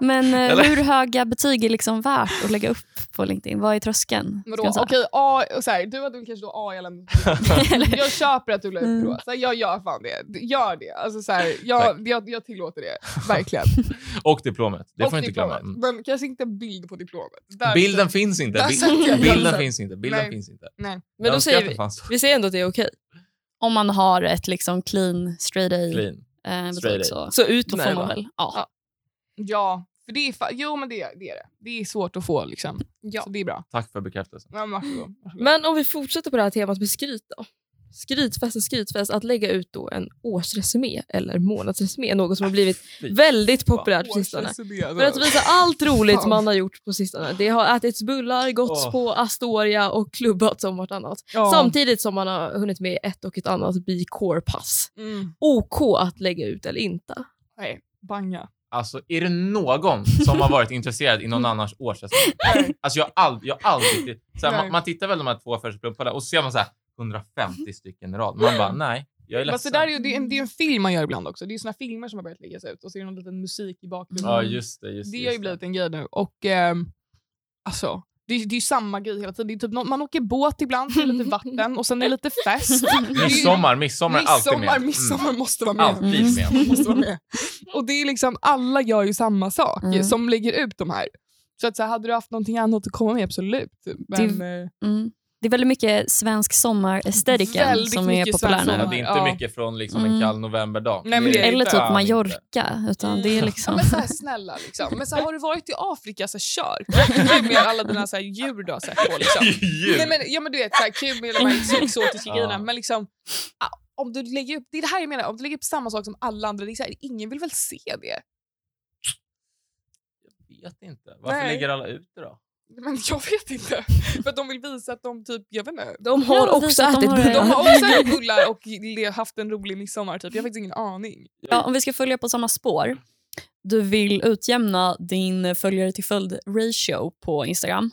S2: Men eh,
S4: Eller?
S2: hur höga betyg är liksom värt att lägga upp på LinkedIn? Vad är tröskeln?
S3: Vadå?
S2: ska jag säga?
S3: Okej, A, och så här, du hade väl kanske då A i alla
S2: Eller-
S3: Jag köper att du la upp
S2: Mm.
S3: då. Så här, jag gör fan det. D- Gör det. Alltså, så här, jag, jag, jag tillåter det. Verkligen.
S4: Och diplomet. Det
S3: Och
S4: får du inte glömma.
S3: diplomet.
S4: Mm.
S3: Men kanske inte en bild på diplomet. Där-
S4: Bilden finns inte.
S3: Där
S4: Bil-
S3: satt jag.
S4: Bilden
S3: Där
S4: finns inte. Bilden
S3: Nej.
S4: finns inte.
S1: Men
S4: Jag
S1: då
S4: önskar
S1: säger
S4: att den
S1: vi,
S4: fanns
S1: vi säger ändå att det är okej.
S2: Om man har ett liksom clean, straight A
S4: clean.
S2: eh,
S4: Straight A.
S2: betyg så,
S1: Så ut
S2: då
S1: med det
S2: får man
S1: bara.
S2: väl. Ja.
S3: Ja. För det är fa- jo, men det, det är det. Det är svårt att få liksom.
S1: Ja.
S3: Så det är bra.
S4: Tack för bekräftelsen.
S3: Men varsågod. varsågod.
S1: Men om vi fortsätter på det här temat med skryt då. Skrytfest och skrytfest, att lägga ut då en årsresumé eller månadsresumé, något som har blivit
S4: Fy.
S1: väldigt populärt på sistone.
S3: Alltså,
S1: För att visa allt roligt
S3: Fan.
S1: man har gjort på sistone. Det har ätits bullar, gåtts
S4: Åh.
S1: på Astoria och klubbat som vartannat.
S3: Ja.
S1: Samtidigt som man har hunnit med ett och ett annat b pass
S3: Mm.
S1: OK att lägga ut eller inte.
S3: Nej, banga.
S4: Alltså, är det någon som har varit intresserad i någon annans årsresultat?
S3: Nej.
S4: Alltså, jag har ald- jag har aldrig... Så här, man,
S3: Nej.
S4: man tittar väl de här två första plumparna och så ser man så här 150 stycken i rad. Man bara, nej, jag är
S3: Men så
S4: ledsen.
S3: där är ju, Mm. det, är en, det är en film man gör ibland också. Det är såna filmer som har börjat läggas ut och så är det någon liten musik i bakgrunden.
S4: Ja, just det. Just
S3: Det
S4: det,
S3: har ju
S4: just
S3: blivit
S4: det.
S3: en grej nu. Och ehm, alltså, det, är- det är ju samma grej hela tiden. Det är typ något, man åker båt ibland, så är det lite vatten och sen är det lite fest.
S4: Midsommar, midsommar, är alltid med.
S3: midsommar, midsommar måste vara
S4: Mm.
S3: med.
S4: Alltid med.
S3: Måste vara med. Och det är liksom, alla gör ju samma sak
S2: Mm.
S3: som lägger ut de här. Så att så här, hade du haft någonting annat att komma med, absolut. Men, eh,
S2: Mm. Det är väldigt mycket svensk sommarestetiken
S3: Väldigt
S2: som är
S3: mycket
S2: populär
S3: svensk
S4: Ja,
S2: nu.
S3: sommar.
S4: det är inte
S3: Ja.
S4: mycket från liksom en
S2: Mm.
S4: kall novemberdag.
S3: Nej, men
S4: Det är
S3: det-
S2: Eller
S4: fan
S2: typ
S4: inte.
S2: Mallorca. Utan det är
S3: ja,
S2: liksom...
S3: men så här, snälla, liksom. men så här, har du varit i Afrika så här, kör. Kul med alla dina så här, djur du har sett på. Liksom.
S4: Jul.
S3: Nej, men, ja, men du vet, så här, kul med de här ex- exotiska
S4: Ja.
S3: grejerna. Men liksom, ah, om du lägger upp, det är det här jag menar, om du lägger upp samma sak som alla andra, det är så här, ingen vill väl se det?
S4: vet inte. Varför
S3: Nej.
S4: lägger alla ut det då?
S3: Men jag vet inte. För att de vill visa att de typ, jag vet inte.
S1: De har
S2: Ja,
S1: också
S2: precis, de
S1: ätit
S2: har
S1: bullar.
S2: det.
S3: De har också ätit bullar och le- haft en rolig midsommar typ. Jag har faktiskt ingen aning.
S2: Ja, om vi ska följa på samma spår. Du vill utjämna din följare till följd ratio på Instagram.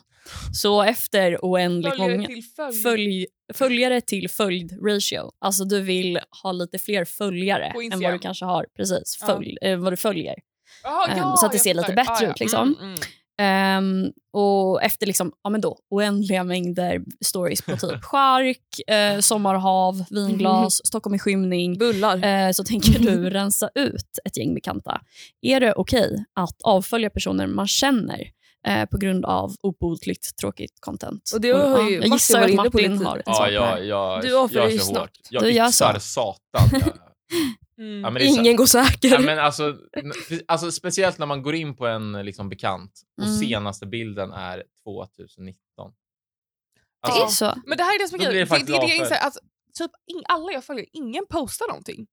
S2: Så efter oändligt
S3: Följare
S2: många
S3: till följ,
S2: följ, följare till följd ratio. Alltså du vill ha lite fler följare
S3: På
S2: än vad
S3: Instagram.
S2: du kanske har. Precis,
S3: Ja.
S2: följ, eh, vad du följer.
S3: Jaha,
S2: ehm,
S3: ja,
S2: så att det
S3: jag
S2: ser lite
S3: fattar.
S2: bättre ut, liksom.
S3: Mm, mm.
S2: Ehm, och efter liksom, ja, men då, oändliga mängder stories på typ skärk, eh, sommarhav, vinglas, Stockholm i skymning
S1: Bullar.
S2: eh, så tänker du rensa ut ett gäng bekanta. Är det okej att avfölja personer man känner eh, på grund av obotligt tråkigt content?
S1: Och det har ju
S2: jag
S1: Martin
S2: gissar
S1: varit
S2: att
S1: inne på
S2: Martin
S1: lite.
S2: har ett
S4: Ja,
S2: svar på det här.
S4: jag, jag,
S1: Du
S4: jag
S1: avföljer ju
S4: kör hårt.
S1: snart.
S4: Jag
S2: Du gör
S4: yxar
S2: så.
S4: satan. Jag-
S3: Mm.
S4: Ja, men det är så-
S1: Ingen går säker.
S4: Ja, men alltså, n- pre- alltså, speciellt när man går in på en liksom, bekant och
S2: Mm.
S4: senaste bilden är 2019.
S2: Det är
S4: Alltså,
S2: så.
S3: Men det här är det som är
S4: Då
S3: grejen.
S4: blir
S3: Det, det,
S4: det faktiskt
S3: det, är det jag
S4: avföljd.
S3: inser, att typ in, alla jag följer, ingen postar någonting.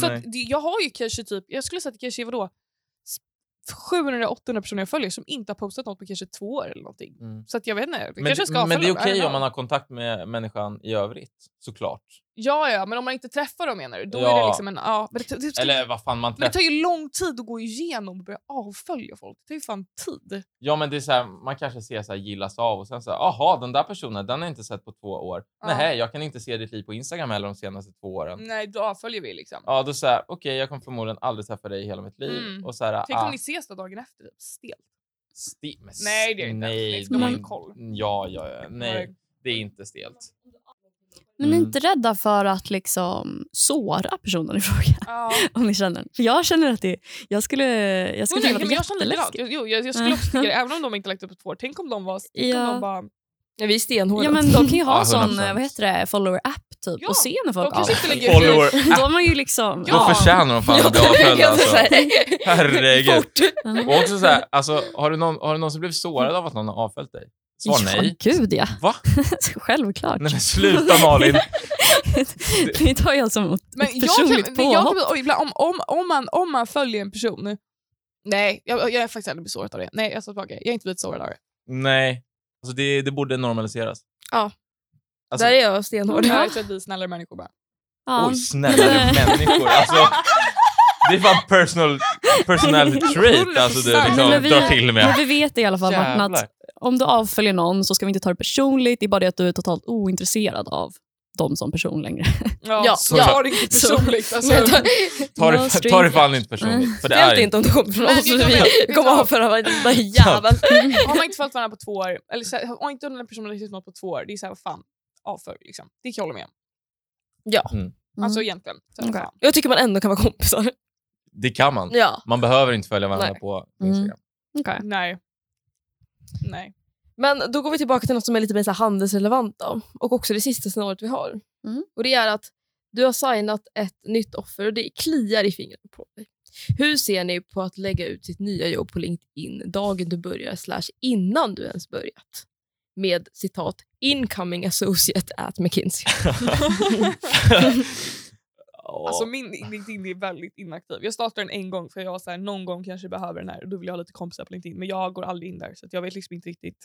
S3: Så
S4: nej.
S3: att, det, jag har ju kanske typ, jag skulle säga att det kanske är vadå, s- 700-800 personer jag följer som inte har postat något på kanske två år eller någonting.
S4: Mm.
S3: Så att jag vet inte, det
S4: Men,
S3: kanske jag ska
S4: men det är
S3: avfölja dem, I
S4: okej
S3: don't
S4: om
S3: know.
S4: man har kontakt med människan i övrigt, såklart.
S3: Ja, ja, men om man inte träffar dem menar du? Då är
S4: Ja.
S3: det liksom en... Ja, men, det, det,
S4: Eller vad fan man
S3: men det
S4: träffar.
S3: tar ju lång tid att gå igenom och börja avfölja folk. Det tar ju fan tid.
S4: Ja, men det är så här, man kanske ser så här, gillas av och sen så här, aha, den där personen, den har jag inte sett på två år.
S3: Ja.
S4: Nej, jag kan inte se ditt liv på Instagram heller de senaste två åren.
S3: Nej, då avföljer vi liksom.
S4: Ja, då så här, okej, jag kommer förmodligen aldrig träffa dig i hela mitt liv.
S3: Mm.
S4: Och så här,
S3: Tänk
S4: ah,
S3: om ni ses då dagen efter. Typ. Stelt.
S4: sti- men
S3: Nej, det är det inte.
S4: nej,
S3: Det ska man
S2: ha
S4: nej.
S3: koll.
S4: Ja, ja, ja. Nej,
S3: Nej.
S4: det är inte stelt.
S2: Men ni är
S4: Mm.
S2: inte rädda för att liksom såra personen i fråga?
S3: Ja.
S2: Om ni känner. För jag känner att det, jag skulle, jag
S3: Jo,
S2: skulle
S3: nej,
S2: tycka
S3: men
S2: att
S3: jag
S2: det var
S3: känner likadant.
S2: jätteläskigt.
S3: Jag, jo, jag, jag skulle också tycka det, även om de inte lagt upp på två år. Tänk om de var... Tänk
S2: Ja.
S3: om de bara,
S1: Ja, vi är stenhårda.
S2: Ja, men de kan ju ha
S4: Ja,
S2: en sån
S4: 100%.
S2: eh, vad heter det, follower-app typ,
S3: Ja,
S2: och se när
S3: de
S2: folk
S3: kanske
S2: avföljer.
S3: inte lägger upp...
S2: Då är man ju liksom...
S3: Ja.
S4: Ah, Då förtjänar de fan att bli avföljda. Alltså. Herregud.
S1: Fort.
S4: Och också så här, alltså, har, du någon, har du någonsin blivit sårad av att någon har avföljt dig? Svar nej.
S2: Ja, gud ja.
S4: Va?
S2: Självklart.
S4: Nej men sluta Malin!
S2: det tar alltså jag som ett
S3: Men jag
S2: personligt
S3: kan, men jag
S2: påhopp.
S3: kan, och ibland, om, om, om, man, om man följer en person... Nej, jag, jag är faktiskt aldrig blivit sårad av det. Nej, jag tar tillbaka. Jag har inte blivit sårad av det.
S4: Nej. Alltså, det, det borde normaliseras.
S1: Ja.
S4: Alltså,
S1: Där är jag stenhård.
S3: Jag tror att vi är snällare människor bara.
S2: Ja.
S4: Oj, snällare människor. Alltså, det är fan personal, personality trait alltså, du
S3: 100%.
S4: liksom,
S2: Nej, men vi-
S4: drar till med.
S2: Men vi vet i alla fall, Martin,
S4: Jävlar.
S2: att om du avföljer någon så ska vi inte ta det personligt. Det är bara det att du är totalt ointresserad av dem som person längre.
S3: Ja,
S1: Ja,
S3: så
S1: ja.
S3: tar det inte personligt. Alltså.
S1: Men ta-
S4: Ta
S2: No
S4: det, ta det
S2: strings. Mm.
S4: fan inte personligt. För det
S1: Speciellt
S4: är
S1: inte
S4: inte.
S1: om du kommer från
S3: Men
S1: oss.
S3: vi kan väl-
S1: Vi
S3: vi
S1: kommer
S3: tar-
S1: avföra varenda jävel.
S3: har man inte följt varandra på två år, eller så, har inte den här personen riktigt något på två år, det är så här, vad fan, avfölj. Liksom. Det kan jag hålla med om. Alltså egentligen. Så, här,
S2: Okej.
S3: fan.
S1: Jag tycker man ändå kan vara kompisar.
S4: Det kan man.
S1: Ja.
S4: Man behöver inte följa varandra
S1: Nej.
S4: på
S2: Mm.
S4: Instagram.
S2: Okej.
S3: Nej. Nej.
S1: Men då går vi tillbaka till något som är lite mer så här handelsrelevant då. och också det sista scenariot vi har.
S2: Mm.
S1: Och Det är att du har signat ett nytt offer och det kliar i fingrarna på dig. Hur ser ni på att lägga ut sitt nya jobb på LinkedIn dagen du börjar slash innan du ens börjat? Med citat incoming associate at McKinsey.
S4: Ja.
S3: Alltså min LinkedIn är väldigt inaktiv. Jag startade den en gång för jag var så här, någon gång kanske behöver den här och då vill jag ha lite kompisar på LinkedIn. Men jag går aldrig in där så att jag vet liksom inte riktigt.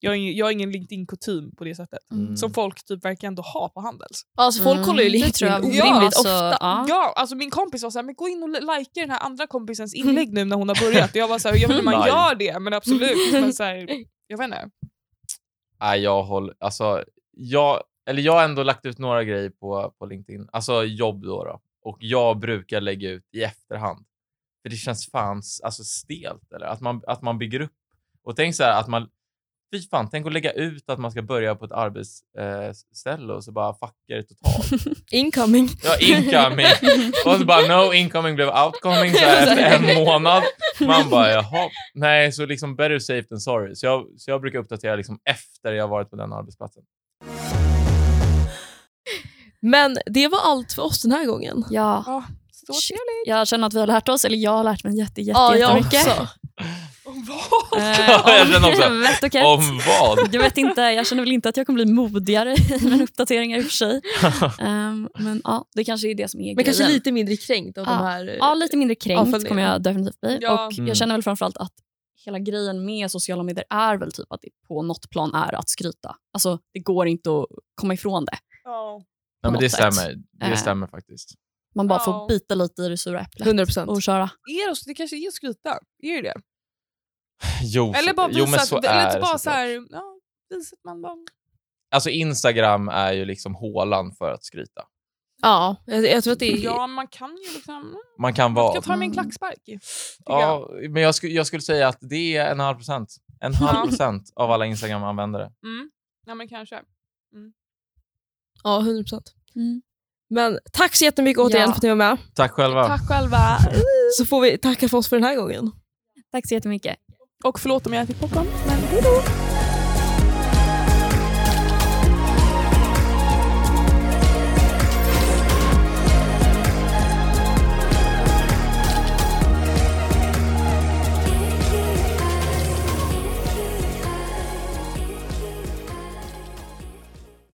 S3: Jag har ingen, jag har ingen LinkedIn-kutym på det sättet.
S4: Mm.
S3: Som folk typ verkar ändå ha på Handels.
S1: Alltså folk
S2: Mm,
S1: kollar ju
S2: det tror
S1: LinkedIn
S2: jag.
S1: orimligt
S3: Ja,
S2: alltså,
S1: ofta.
S2: ja.
S3: Ja, alltså min kompis var så här, men gå in och likea den här andra kompisens inlägg nu när hon har börjat. Och jag var så här, jag vet inte om man
S4: Live.
S3: gör det, men absolut. Men så här, jag vet inte.
S4: Nej, jag håller... Alltså, jag, eller jag har ändå lagt ut några grejer på, på LinkedIn. Alltså jobb då, då. Och jag brukar lägga ut i efterhand. För det känns fan s- alltså, stelt. Eller? Att, man, att man bygger upp. Och tänk så här att man... Fy fan, tänk att lägga ut att man ska börja på ett arbetsställe eh, ställe och så bara fuckar det totalt.
S1: Incoming.
S4: Ja, incoming. Och så bara no incoming blev outcoming så här efter en månad. Man bara jaha. Nej, så liksom better safe than sorry. Så jag, så jag brukar uppdatera liksom efter jag varit på den arbetsplatsen.
S1: Men det var allt för oss den här gången.
S2: Ja.
S3: Ja, så
S2: Shit.
S3: trevligt.
S2: Jag känner att vi har lärt oss, eller jag har lärt mig jätte, jätte,
S1: Ja, jag
S2: jättemycket.
S1: också.
S3: Vad?
S2: Eh,
S4: Jag känner också.
S2: om vett och kett.
S4: Om vad?
S2: Jag vet inte, jag känner väl inte att jag kommer bli modigare i
S1: Mm.
S2: mina uppdateringar i och för sig. Ehm, men ja, det kanske är det som är
S1: Men
S2: grejen.
S1: kanske lite mindre kränkt av
S2: Ja.
S1: de här... eh,
S2: Ja, lite mindre kränkt
S1: Avföljning.
S2: kommer jag definitivt bli.
S3: Ja.
S2: Och
S4: Mm.
S2: jag känner väl framförallt att hela grejen med sociala medier är väl typ att det på något plan är att skryta. Alltså, det går inte att komma ifrån det.
S4: Nej, men det
S2: något sätt.
S4: stämmer.
S2: Eh.
S4: Det stämmer faktiskt.
S2: Man bara får
S3: Ja.
S2: bita lite i det sura äpplet
S1: 100 procent.
S2: och köra.
S3: Är det, det kanske är att skryta? Är det det?
S4: Jo,
S3: Eller bara
S4: jo, men
S3: visa
S4: så
S3: att, eller
S4: är
S3: typ bara så
S4: det.
S3: här, ja, visa att man bara...
S4: Alltså Instagram är ju liksom hålan för att skryta.
S1: Ja, jag, jag tror att det är...
S3: Ja, man kan ju liksom...
S4: Man kan
S3: Man
S4: vara...
S3: kan ta med en klackspark. tycker jag.
S4: Ja, men jag, sku, jag skulle säga att det är en halv procent. En halv
S3: Ja.
S4: procent av alla Instagram-användare.
S3: Mm. Ja, men kanske.
S1: Ja, 100 procent.
S2: Mm.
S1: Men tack så jättemycket återigen
S2: Ja.
S1: för att ni var med.
S4: Tack själva.
S3: Tack själva.
S1: Så får vi tacka för oss för den här gången.
S2: Tack så jättemycket.
S3: Och förlåt om jag ätit popcorn, men hej då.